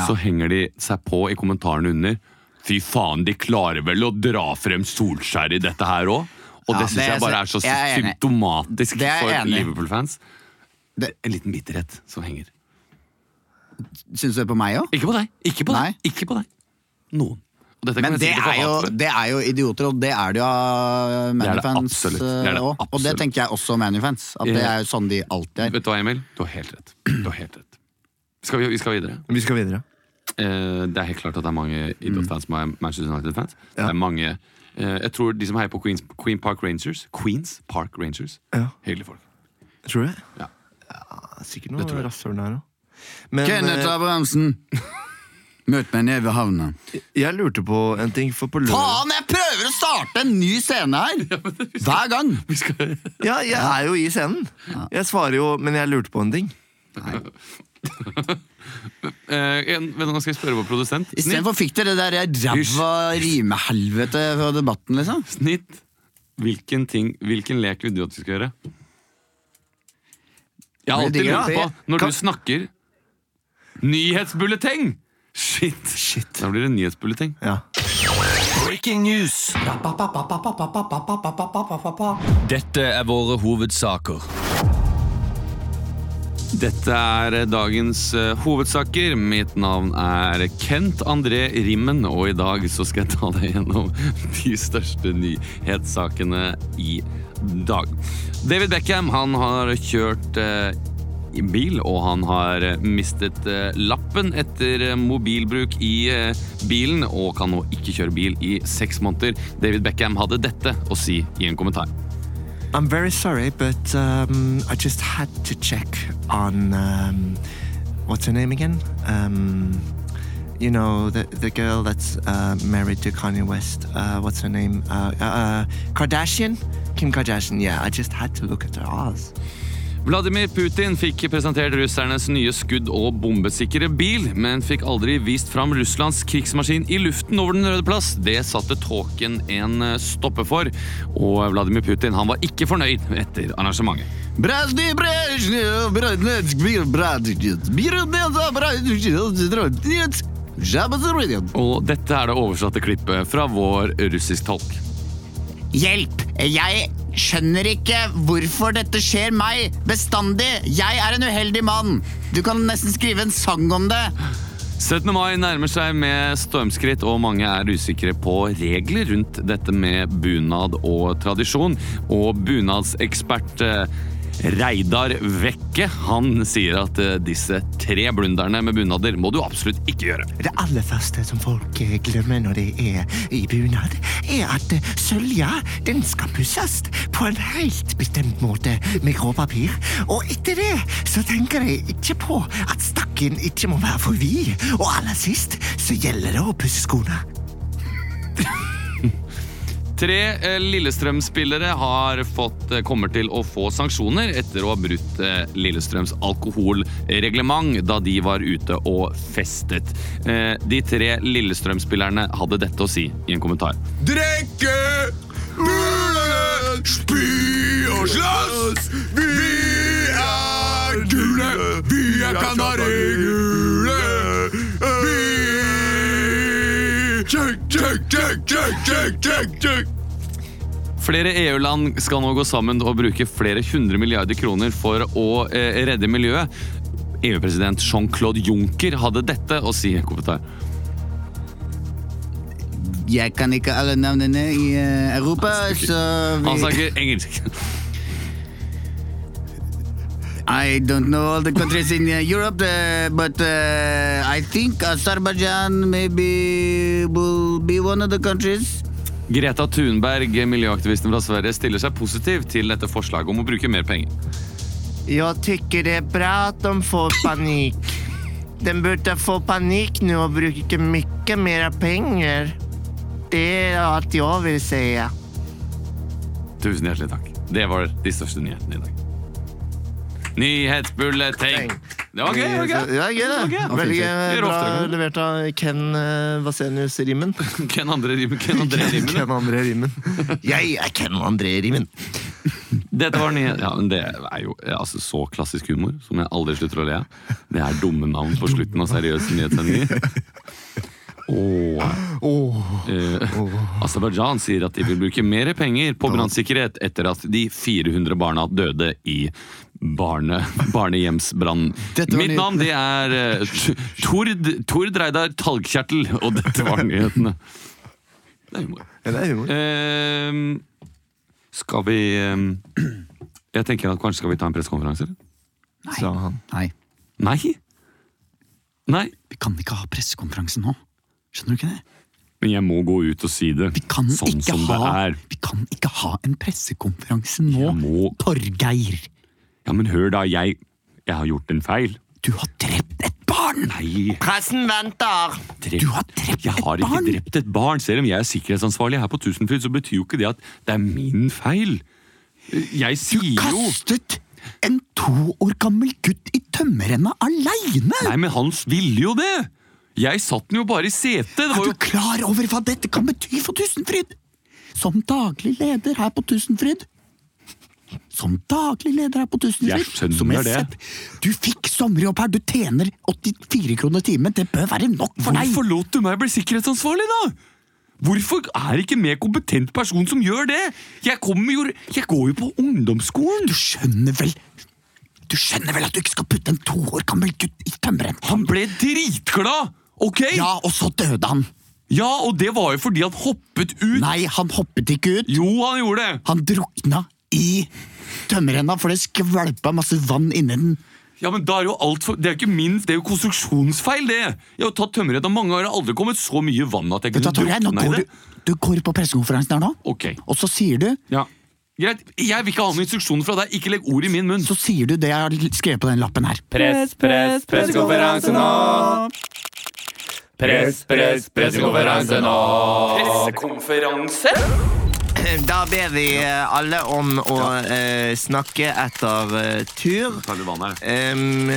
S1: Så henger de seg på i kommentarene under. Fy faen, de klarer vel å dra frem Solskjær i dette her òg? Og
S4: Ja,
S1: det syns
S4: det er
S1: jeg bare er så
S4: så- jeg er enig.
S1: symptomatisk
S4: Det er jeg
S1: for
S4: enig i.
S1: Liverpool-fans.
S4: Det-
S1: En liten bitterhet som henger.
S4: Syns du det på meg òg?
S1: Ikke på deg! Ikke på
S4: Nei.
S1: deg! Ikke på deg. Noen. Og dette kan jeg
S4: Men det
S1: sikkert få
S4: er,
S1: hat
S4: jo,
S1: for.
S4: det er jo idioter, og det er det jo av
S1: Det er det
S4: Manufans
S1: absolutt. Det er det
S4: òg. Og det
S1: absolutt.
S4: tenker jeg også om Manufans. At det er jo sånn de alltid er.
S1: Vet du hva, Emil? Du har helt rett. Du har helt rett. Skal vi, vi skal videre.
S2: Vi skal videre.
S1: Eh, det er helt klart at det er mange idrettsfans som er Manchester United-fans. Det er mange eh, Jeg tror de som heier på Queens, Queen Park Rangers Queens Park Rangers.
S2: Ja.
S1: Hyggelige folk.
S2: Tror du det?
S1: Ja.
S2: Ja, sikkert noe rasshøl der òg. Men,
S4: Kenneth
S2: eh,
S1: [LAUGHS]
S4: Abrahamsen! Møt meg nede ved havna.
S2: Jeg lurte på en ting, for på lørdag
S4: Faen, jeg prøver å starte en ny
S1: [LAUGHS]
S4: scene her! Hver gang!
S2: Ja, jeg er jo i scenen. Jeg svarer jo, men jeg lurte på en ting.
S1: Eh, en- vent, nå skal jeg spørre vår produsent.
S4: Istedenfor fikk dere det der ræva rimehelvete fra debatten, liksom.
S1: Snitt. Hvilken, ting, hvilken lek vil du at vi skal gjøre? Jeg har alltid
S4: digger
S1: lurt
S4: det.
S1: på, når du snakker Nyhetsbulleteng! Shit. Da blir det nyhetsbulleteng.
S2: Ja.
S10: Breaking news.
S8: Dette er våre hovedsaker.
S1: Dette er dagens eh, hovedsaker. Mitt navn er Kent André Rimmen, og i dag så skal jeg ta deg gjennom [LAUGHS] de største nyhetssakene i dag. David Beckham han har kjørt eh, i bil, og han har eh, mistet eh, lappen etter eh, mobilbruk i eh, bilen, og kan nå ikke kjøre bil i seks måneder. David Beckham hadde dette å si i en kommentar.
S2: I'm very sorry, but um, I just had to check on um, what's her name again? Um, you know the the girl that's uh, married to Kanye West. Uh, what's her name? Uh, uh, uh, Kardashian, Kim Kardashian. Yeah, I just had to look at her ass.
S1: Vladimir Putin fikk presentert russernes nye skudd- og bombesikre bil, men fikk aldri vist fram Russlands krigsmaskin i luften over Den røde plass. Det satte tåken en stopper for, og Vladimir Putin han var ikke fornøyd etter arrangementet.
S4: Brazdi, Brazdi, Brazdi, Brazdi, Brazdi, Brazdi, Brazdi,
S1: Og dette er det oversatte klippet fra vår russisk tolk.
S11: Hjelp! Jeg skjønner ikke hvorfor dette skjer meg bestandig. Jeg er en uheldig mann. Du kan nesten skrive en sang om det.
S1: 17. mai nærmer seg med stormskritt, og mange er usikre på regler rundt dette med bunad og tradisjon. Og bunadsekspert eh, Reidar Vekke han sier at eh, disse tre blunderne med bunader må du absolutt ikke gjøre.
S12: Det aller første som folk eh, glemmer når de er i bunad, er at eh, sølja den skal pusses på en helt bestemt måte med gråpapir. Og etter det så tenker de ikke på at stakken ikke må være for vid. Og aller sist så gjelder det å pusse skoene.
S1: Tre eh, Lillestrøm-spillere har fått, eh, kommer til å få sanksjoner etter å ha brutt eh, Lillestrøms alkoholreglement da de var ute og festet. Eh, De tre Lillestrøm-spillerne hadde dette å si i en kommentar.
S7: Drikke, mule, spy og slåss. Vi er gule, vi er kanarigule. Vi Check, check, check, check, check, check, check.
S1: Flere EU-land skal nå gå sammen og bruke flere hundre milliarder kroner for å eh, redde miljøet. EU-president Jean-Claude Juncker hadde dette å si i en kommentar.
S4: Jeg kan ikke alle navnene i eh, Europa, så vi
S1: Han snakker engelsk. [LAUGHS]
S4: I don't know all the countries in eh, Europe, eh, but eh, I think Azerbaijan maybe will be one of the countries.
S1: Greta Thunberg, miljøaktivisten fra Sverige, stiller seg positiv til dette forslaget om å bruke mer penger.
S12: Jeg tykker det er bra at de får panikk. De burde få panikk nå og bruke mye mer penger. Det er alt jeg vil si.
S1: Tusen hjertelig takk. Det var de største nyhetene i dag. Nyhetsbulleteng! Det var gøy! det var gøy.
S2: Ja, gøy det.
S1: Det var gøy.
S2: Veldig
S1: Vi
S2: eh,
S1: gjør
S2: bra
S1: oftere.
S2: levert av Ken eh, Vasenius Rimmen.
S1: Ken André Rimmen. Ken André Rimmen.
S2: Ken André [LAUGHS] Rimmen. Jeg er Ken André Rimmen.
S1: Dette var nye. Ja, men det er jo eh, altså, så klassisk humor som jeg aldri slutter å le av. Det er dumme navn på slutten av seriøse nyhetssendinger. Og eh, Aserbajdsjan sier at de vil bruke mer penger på brannsikkerhet etter at de 400 barna døde i barne, barnehjemsbrann.
S9: Dette var
S1: Mitt
S9: nyhetene.
S1: navn det er eh, Tord, Tord Reidar Talgkjertel, og dette var nyhetene. Det er humor. Ehm, skal vi ehm, Jeg tenker at kanskje skal vi ta en pressekonferanse, eller?
S2: Sa
S1: sånn.
S2: han.
S4: Nei.
S1: Nei? Nei.
S4: Vi kan ikke ha pressekonferanse nå. Skjønner du ikke det?
S1: Men jeg må gå ut og si det.
S4: Vi kan
S1: sånn
S4: ikke
S1: som
S4: ha,
S1: det er.
S4: vi kan ikke ha en pressekonferanse nå,
S1: må-
S4: Torgeir.
S1: Ja, men hør da, jeg Jeg har gjort en feil.
S4: Du har drept et barn!
S1: Nei.
S2: Pressen venter!
S1: Drept. Du har drept jeg har ikke drept et barn. Selv om jeg er sikkerhetsansvarlig her på Tusenfryd, så betyr jo ikke det at det er min feil. Jeg sier jo
S4: Kastet en to år gammel gutt i tømmerrenna aleine!
S1: Nei, men han ville jo det! Jeg satt den jo bare i setet. Det var
S4: Er
S1: jo
S4: du klar over hva dette kan bety for Tusenfryd? Som daglig leder her på Tusenfryd. Som daglig leder her på Tusenfryd.
S1: Jeg skjønner
S4: som
S1: det.
S4: sett- Du fikk sommerjobb her, du tjener 84 kroner timen. Det bør være nok for deg.
S1: Hvorfor lot du meg bli sikkerhetsansvarlig, da? Hvorfor er det ikke en mer kompetent person som gjør det? Jeg, kommer jo, jeg går jo på ungdomsskolen!
S4: Du skjønner vel Du skjønner vel at du ikke skal putte en to år gammel gutt i tømmeren?
S1: Han ble dritglad! Ok?
S4: Ja, og så døde han.
S1: Ja, og det var jo fordi han hoppet ut.
S4: Nei, han hoppet ikke ut.
S1: Jo, han gjorde det!
S4: Han drukna i tømmerrenna, for det skvalpa masse vann inni den.
S1: Ja, men da er jo alt for, Det er jo ikke min, det er jo konstruksjonsfeil, det! Jeg har tatt tømmerredd av mange år, det har aldri kommet så mye vann at jeg
S4: Vet du, hva,
S1: kunne
S4: Torgeir, nå
S1: drukne i
S4: går
S1: det.
S4: du, du går på pressekonferansen her nå,
S1: Ok,
S4: og så sier du
S1: ja. Greit, jeg vil ikke ha noen instruksjoner fra deg. Ikke legg ord i min munn.
S4: Så sier du det jeg har skrevet på den lappen her.
S10: Press, press, pressekonferanse nå! Press, press, pressekonferanse nå!
S1: Pressekonferanse?
S2: Da ber vi eh, alle om å eh, snakke etter eh, tur.
S1: Tar du vann her?
S2: Um,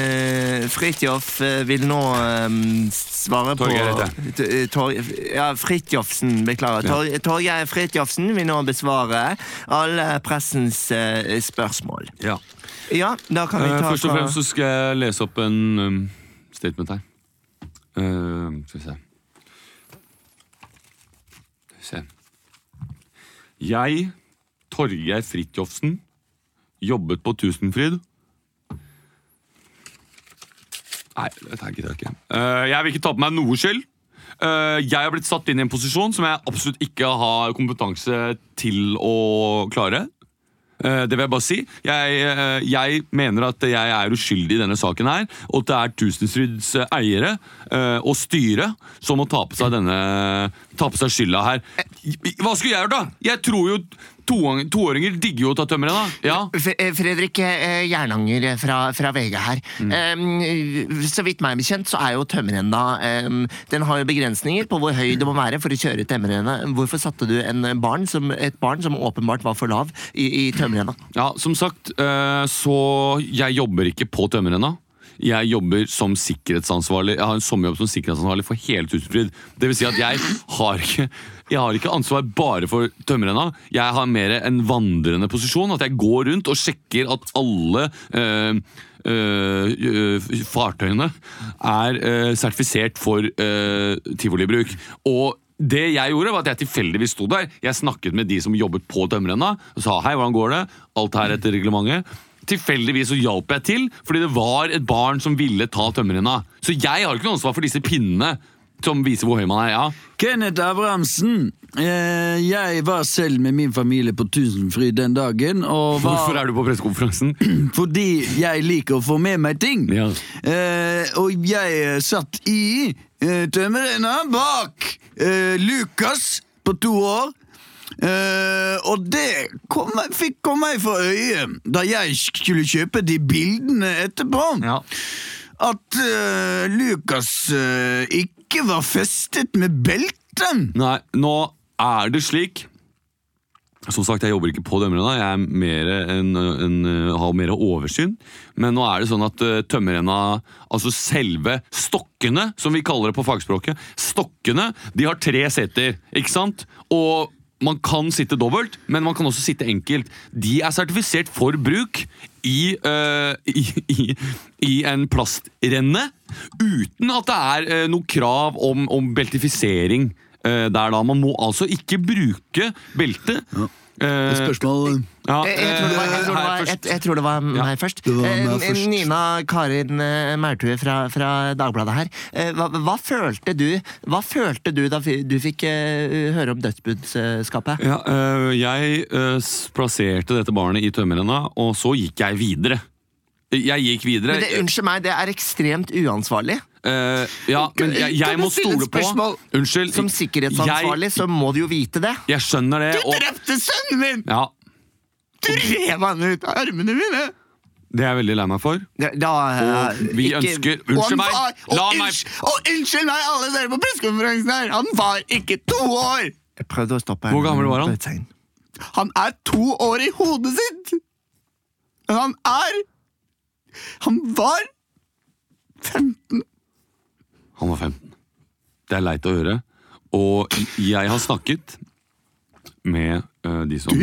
S2: Fridtjof eh, vil nå eh, svare på
S1: Torgeir
S2: T- eh, Tor, Ja, Fridtjofsen, beklager. Tor, Torgeir Fridtjofsen vil nå besvare alle pressens eh, spørsmål.
S1: Ja.
S2: Ja, da kan vi
S1: Eh,
S2: ta
S1: Først og
S2: fra-
S1: fremst så skal jeg lese opp en um, statement her. Eh, skal vi se Skal vi se Jeg, Torgeir Fridtjofsen, jobbet på Tusenfryd. Nei, dette her gidder jeg ikke. Eh, jeg vil ikke ta på meg noe skyld. Eh, jeg har blitt satt inn i en posisjon som jeg absolutt ikke har kompetanse til å klare. Eh, Det vil jeg bare si. Jeg, eh, jeg mener at jeg er uskyldig i denne saken her, og at det er Tusenfryds eh, eiere eh, og styre som må ta på seg denne Ta på seg skylda her. Hva skulle jeg gjort, da? Jeg tror jo toang- toåringer digger jo å ta tømmeret, da. Ja.
S2: F- eh, Fredrik eh, Jernanger eh, fra, fra VG her. Eh, så vidt meg bekjent så er jo tømmerrenna eh, Den har jo begrensninger på hvor høy det må være for å kjøre tømmerrenna. Hvorfor satte du en barn som, et barn som åpenbart var for lav, i, i tømmerrenna?
S1: Ja, som sagt, eh, så jeg jobber ikke på tømmerrenna. Jeg jobber som sikkerhetsansvarlig Jeg har en sommerjobb som sikkerhetsansvarlig for hele Tusenfryd. Det vil si at jeg har ikke jeg har ikke ansvar bare for tømmerrenna. Jeg har mer en vandrende posisjon. At jeg går rundt og sjekker at alle eh, eh, eh, fartøyene er eh, sertifisert for eh, tivolibruk. Og det jeg gjorde var at jeg tilfeldigvis sto der. Jeg snakket med de som jobbet på tømmerrenna og sa hei, hvordan går det? Alt her etter reglementet. Tilfeldigvis så hjalp jeg til, fordi det var et barn som ville ta tømmerrenna. Så jeg har ikke noe ansvar for disse pinnene som viser hvor høy man er. ja.
S13: Kenneth Abrahamsen, eh, jeg var selv med min familie på Tusenfryd den dagen. Og var,
S1: Hvorfor er du på pressekonferansen?
S13: [CLEARS THROAT] Fordi jeg liker å få med meg ting.
S1: Ja.
S13: Eh, og jeg eh, satt i eh, tømmerrenna bak eh, Lukas på to år. Eh, og det kom, meg- fikk komme meg for øye da jeg skulle kjøpe de bildene etterpå. At eh, Lukas eh, ikke var festet med belte.
S1: Nei, nå er det slik Som sagt, jeg jobber ikke på tømmerrenna. Jeg er mer en, en, eh, har mer oversyn. Men nå er det sånn at eh, tømmerrenna, altså selve stokkene, som vi kaller det på fagspråket, stokkene, de har tre seter, ikke sant? Og man kan sitte dobbelt, men man kan også sitte enkelt. De er sertifisert for bruk i, eh, [LAUGHS] i, i, i en plastrenne, uten at det er eh, noe krav om, om beltifisering eh, der da. Man må altså ikke bruke belte. Eh,
S13: Spørsmål
S1: ja,
S2: Jeg, jeg, tror det var,
S4: Eh,
S2: jeg, tror det
S1: her
S2: var, jeg,
S1: først.
S2: jeg tror det var meg først.
S13: Det var meg
S2: Eh,
S13: først.
S2: Nina Karin eh, Maurtue fra, fra Dagbladet her. Eh, Hva, hva, følte du, hva følte du da fi- du fikk eh, høre om dødsbudskapet?
S1: Ja, øh, jeg øh, s- plasserte dette barnet i tømmerrenna, og så gikk jeg videre. Jeg gikk videre.
S2: Men det, unnskyld meg, det er ekstremt uansvarlig.
S1: Øh, ja, men jeg, jeg
S2: Kan du
S1: må
S2: stille
S1: stole
S2: et
S1: på
S2: spørsmål?
S1: Unnskyld.
S2: Som sikkerhetsansvarlig så må du jo vite det.
S1: Jeg, jeg skjønner det.
S2: drepte sønnen min!
S1: ja,
S2: Du rev han ut av armene mine!
S1: Det er jeg veldig lei meg for.
S2: da, eh,
S1: og vi
S4: ikke-
S1: ønsker
S4: Og
S1: Unnskyld
S4: han
S1: meg!
S4: var-
S1: La
S4: og,
S1: meg
S4: unnskyld, og unnskyld meg, alle dere på pressekonferansen her! Han var ikke to år!
S2: Jeg prøvde å stoppe
S1: Hvor gammel var han?
S4: Han er to år i hodet sitt! Men han er Han var 15.
S1: Han var 15. Det er leit å høre. Og jeg har snakket med eh, de som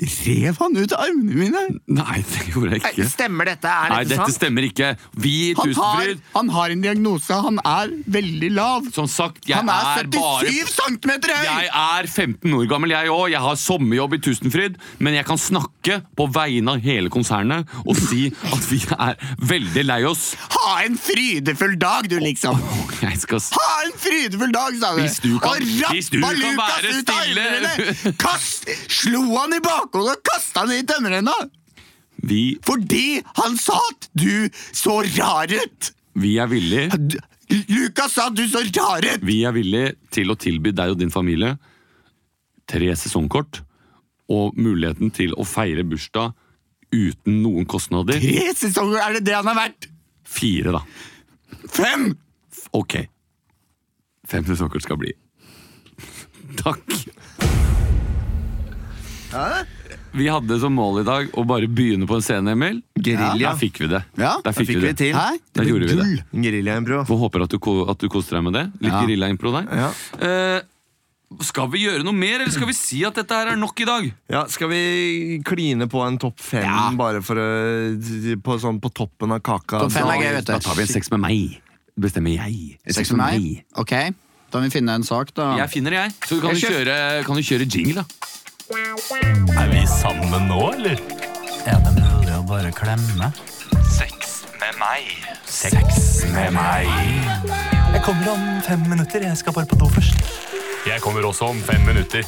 S4: Rev han ut av armene mine?
S1: Nei, det gjorde jeg ikke.
S4: Stemmer dette? Er
S1: Nei, dette stemmer ikke. Vi i
S4: Han har,
S1: Tusenfryd
S4: han har en diagnose. Han er veldig lav.
S1: Som sagt, jeg
S4: han er
S1: er
S4: 77
S1: bare-
S4: cm høy!
S1: Jeg er 15 år gammel, jeg òg. Jeg har sommerjobb i Tusenfryd. Men jeg kan snakke på vegne av hele konsernet og si at vi er veldig lei oss.
S4: Ha en frydefull dag, du, liksom!
S1: Jeg skal s-
S4: Ha en frydefull dag, sa du!
S1: Hvis du kan-
S4: og
S1: hvis du
S4: rappa
S1: kan
S4: Lukas
S1: være
S4: ut av
S1: stille.
S4: armene! Kast, slo han i bakhodet og kasta han i tømmerrenna!
S1: Vi,
S4: Fordi han sa at du så rar ut!
S1: vi er villige
S4: Lukas sa at du så rar ut!
S1: Vi er villige til å tilby deg og din familie tre sesongkort og muligheten til å feire bursdag uten noen kostnader.
S4: Tre sesonger, er det det han er verdt?
S1: Fire, da.
S4: Fem!
S1: Ok. Fem sesongkort skal bli. [LAUGHS] Takk. Vi hadde som mål i dag å bare begynne på en scene, Emil.
S2: Guerilla.
S1: Der fikk vi det.
S2: Ja,
S1: Der fikk, vi det.
S2: til.
S1: Der gjorde vi det.
S2: Geriljaimpro.
S1: Får håper at du, ko- at du koser deg med det. Litt
S2: Ja.
S1: guerillaimpro der. Eh, skal vi gjøre noe mer, eller skal vi si at dette her er nok i dag?
S2: Ja, skal vi kline på en topp fem bare for å på, sånn, på toppen av kaka?
S4: Topp fem er gøy, vet du.
S1: Da tar vi en seks med meg. Bestemmer jeg.
S4: Sex med meg? Ok, da må vi finne en sak, da.
S1: Jeg finner det, jeg. Så kan,
S4: Jeg
S1: du
S4: kjører.
S1: kjøre, kan du kjøre jingle, da.
S14: Er vi sammen nå, eller? Ja, det er mulig å bare klemme. Sex med meg. Sex med meg. Jeg kommer om fem minutter. Jeg skal bare på do først. Jeg kommer også om fem minutter.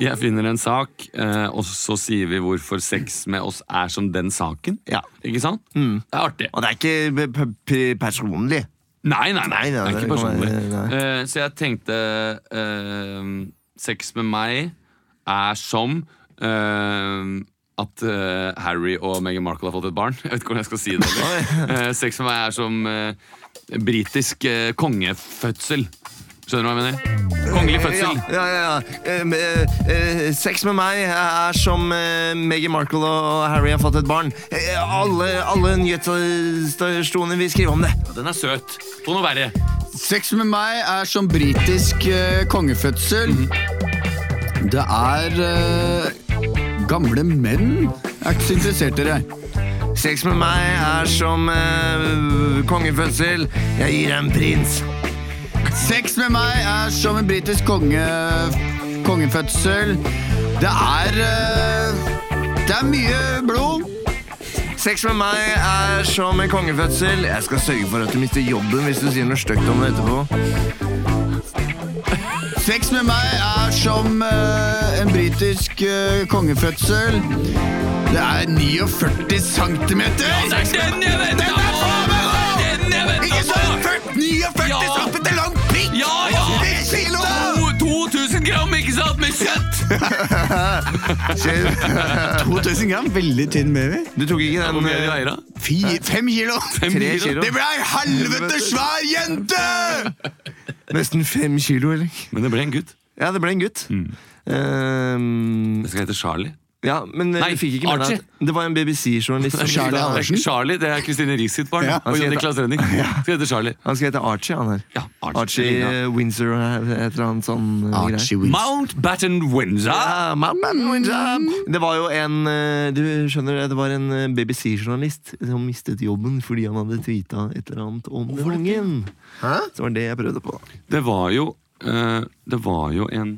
S1: Jeg finner en sak, eh, og så sier vi hvorfor sex med oss er som den saken. Ikke sant? Det er artig.
S2: Og det er ikke eh, p p personlig.
S1: Nei, nei, nei.
S2: Nei, nei,
S1: det er
S2: det
S1: ikke
S2: kan
S1: personlig.
S2: være-
S1: Eh, så jeg tenkte eh, Sex med meg er som eh, at eh, Harry og Meghan Markle har fått et barn. [LAUGHS] Jeg vet ikke hvordan jeg skal si det. Eh, sex med meg er som eh, britisk eh, kongefødsel. Skjønner du hva jeg mener? Kongelig fødsel.
S2: Ja, ja, ja. Eh, eh, eh, sex med meg er som eh, Meghan Markle og Harry har fått et barn. Eh, alle alle nyhetsstasjoner vil skrive om det.
S1: Den er søt. Få noe verre.
S4: Sex med meg er som britisk eh, kongefødsel. Det er eh, gamle menn. Jeg er ikke så interessert i det.
S2: Sex med meg er som eh, kongefødsel. Jeg gir en prins.
S4: Sex med meg er som en britisk konge, kongefødsel. Det er eh, Det er mye blod.
S2: Sex med meg er som en kongefødsel. Jeg skal sørge for at du mister jobben hvis du sier noe stygt om det etterpå.
S4: Sex med meg er som eh, en britisk eh, kongefødsel. Det er 49 centimeter!
S14: det er den jeg ventet
S4: Den er
S14: på!
S4: faen meg lang!
S14: Det er den jeg ventet
S4: Ikke sånn
S14: på!
S4: 40 49
S14: Ja.
S4: centimeter lang pikk!
S14: Ja, ja!
S4: Fire kilo!
S1: To- 2000 gram, ikke sant, med kjøtt!
S4: 2000 gram, veldig tynn baby.
S2: Du tok ikke
S1: Hvor mye er det
S2: den
S1: du eier, da?
S4: Fi, fem kilo!
S1: Fem
S2: Tre
S1: kilo.
S2: kilo.
S4: Det ble ei helvete svær jente!
S2: eh, Nesten fem kilo, eller?
S1: Men det ble en gutt.
S2: Ja, det ble en gutt.
S1: Mm.
S2: Ehm,
S1: Det skal hete Charlie.
S2: ja, men eh,
S1: Nei,
S2: vi fikk ikke med
S1: Archie.
S2: deg at det var en BBC-journalist. som-
S4: Charlie
S1: Det er
S4: Andersen.
S1: ikke Charlie, det er Kristine Riis sitt barn.
S4: Ja,
S1: og
S2: han skal
S1: Johnny
S2: hete-
S1: Claes Rønning. Skal hete Charlie.
S2: Han skal hete Archie, han her.
S1: Ja, Archie.
S2: Archie eh, Windsor og et eller annet sånn eh, greier.
S1: Mount Batten Windsor.
S2: Ja, my man, Windsor. Det var jo en eh, Du skjønner det, det var en eh, BBC-journalist som mistet jobben fordi han hadde tweeta et eller annet om den ungen. Så var det det jeg prøvde på. da.
S1: Det var jo eh, Det var jo en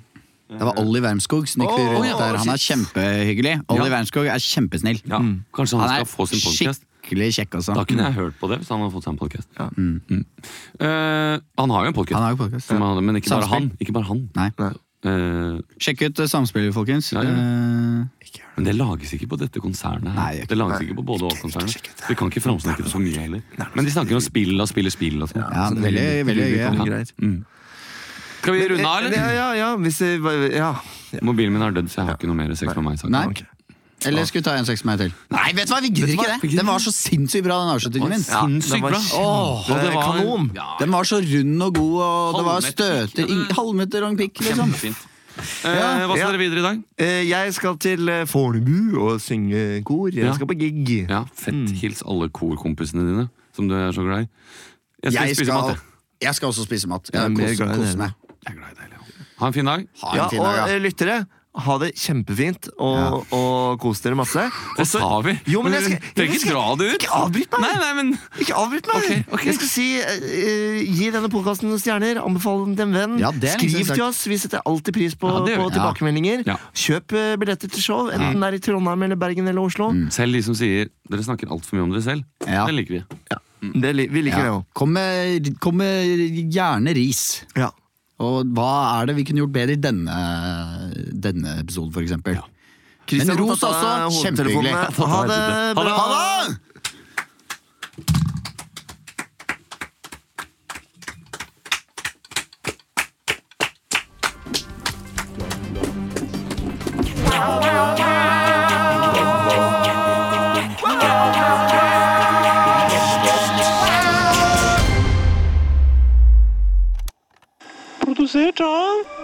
S4: Det var Olli Wermskog som gikk rundt
S1: ja,
S4: der. Han er kjempehyggelig. Olli
S1: Ja.
S4: Wermskog er kjempesnill. Mm.
S1: ja, Kanskje han, skal få sin podcast
S4: skikkelig kjekk, altså.
S1: Da kunne jeg hørt på det hvis han hadde fått seg en podcast
S2: Ja.
S1: Mm. Eh, han har jo en podcast
S4: Han har jo podcast.
S1: som han hadde, men ikke bare
S4: Samspill.
S1: han. Ikke bare han.
S4: Nei.
S1: Eh,
S4: Sjekk ut eh, Samspillet, folkens.
S1: Ja, gjør det.
S4: Eh,
S1: men det lages ikke på dette konsernet. her.
S4: Nei, jeg-
S1: det lages ikke på både og konsernet. Vi kan ikke framsnakke det så mye heller. Men de snakker om spill og spill og spill og sånn.
S4: Ja,
S2: Så det
S4: veldig,
S2: blir-
S4: veldig
S2: blir
S4: gøy.
S2: litt
S4: Ja.
S2: greier.
S1: Skal vi runde av,
S2: Eh, Ja,
S1: Mm. eller?
S2: ja, ja, hvis det, var- ja.
S1: Mobilen min har dødd, så jeg har ikke noe mer sex med meg.
S4: Nei. Eller skal vi ta en sex med meg til? Ah. Nei, vet du hva, vi gidder ikke det! Den var så sinnssykt bra, den avslutningen min.
S2: Ah,
S1: Ja, den var
S4: Åh,
S1: kjempe-
S4: og
S2: Eh,
S4: det var-
S1: kanon.
S4: Den var så rund og god, og det var
S1: Halvmeter
S4: støter i- Halvmeter lang pikk, liksom.
S2: Ja,
S1: hva skal
S2: ja.
S1: dere videre i dag?
S2: Eh, Jeg skal til eh, Fornebu og synge kor. Jeg
S1: Ja.
S2: skal på gig.
S1: Ja, Fett.
S2: Mm.
S1: Hils alle korkompisene dine, som du er så glad i. Jeg skal
S4: Jeg
S1: spise
S4: skal,
S1: mat. jeg.
S4: jeg skal også spise mat.
S1: Jeg er mer
S4: Kos-
S1: glad i
S4: kose
S1: dere.
S4: meg.
S1: Ha en fin dag.
S4: Ha
S2: Ja,
S4: en fin dag, ja.
S2: og eh, lyttere, ha det kjempefint, og, og kos dere masse.
S1: Det sa vi.
S2: Jo,
S1: [LAUGHS]
S2: men jeg skal,
S1: Trenger ikke dra det ut.
S2: Ikke avbryt meg!
S1: Nei, nei, men...
S2: Ikke avbryt meg!
S1: Ok, ok.
S2: Jeg skal si, eh, eh, Gi denne podkasten noen stjerner, anbefal den til en venn.
S4: Ja, det er en
S2: Skriv
S4: liten sak.
S2: til oss, vi setter alltid pris på,
S1: liksom Ja, det gjør
S2: på
S1: vi. Ja.
S2: tilbakemeldinger.
S1: Ja.
S2: Kjøp eh, billetter til show, enten
S1: Mm.
S2: det er i Trondheim, eller Bergen eller Oslo.
S1: Selv de som sier dere snakker altfor mye om dere selv.
S4: Ja.
S1: Det liker vi.
S2: Det li vi liker det
S4: Ja.
S2: òg.
S4: Kom, med, kom med gjerne ris.
S2: Ja.
S4: Og hva er det vi kunne gjort bedre i denne, denne episoden, for eksempel? Men
S2: Christian har
S4: ros
S2: tatt av
S4: også. Kjempehyggelig.
S2: hodetelefonene. Ha det bra!
S4: Ha det!
S15: Produsert av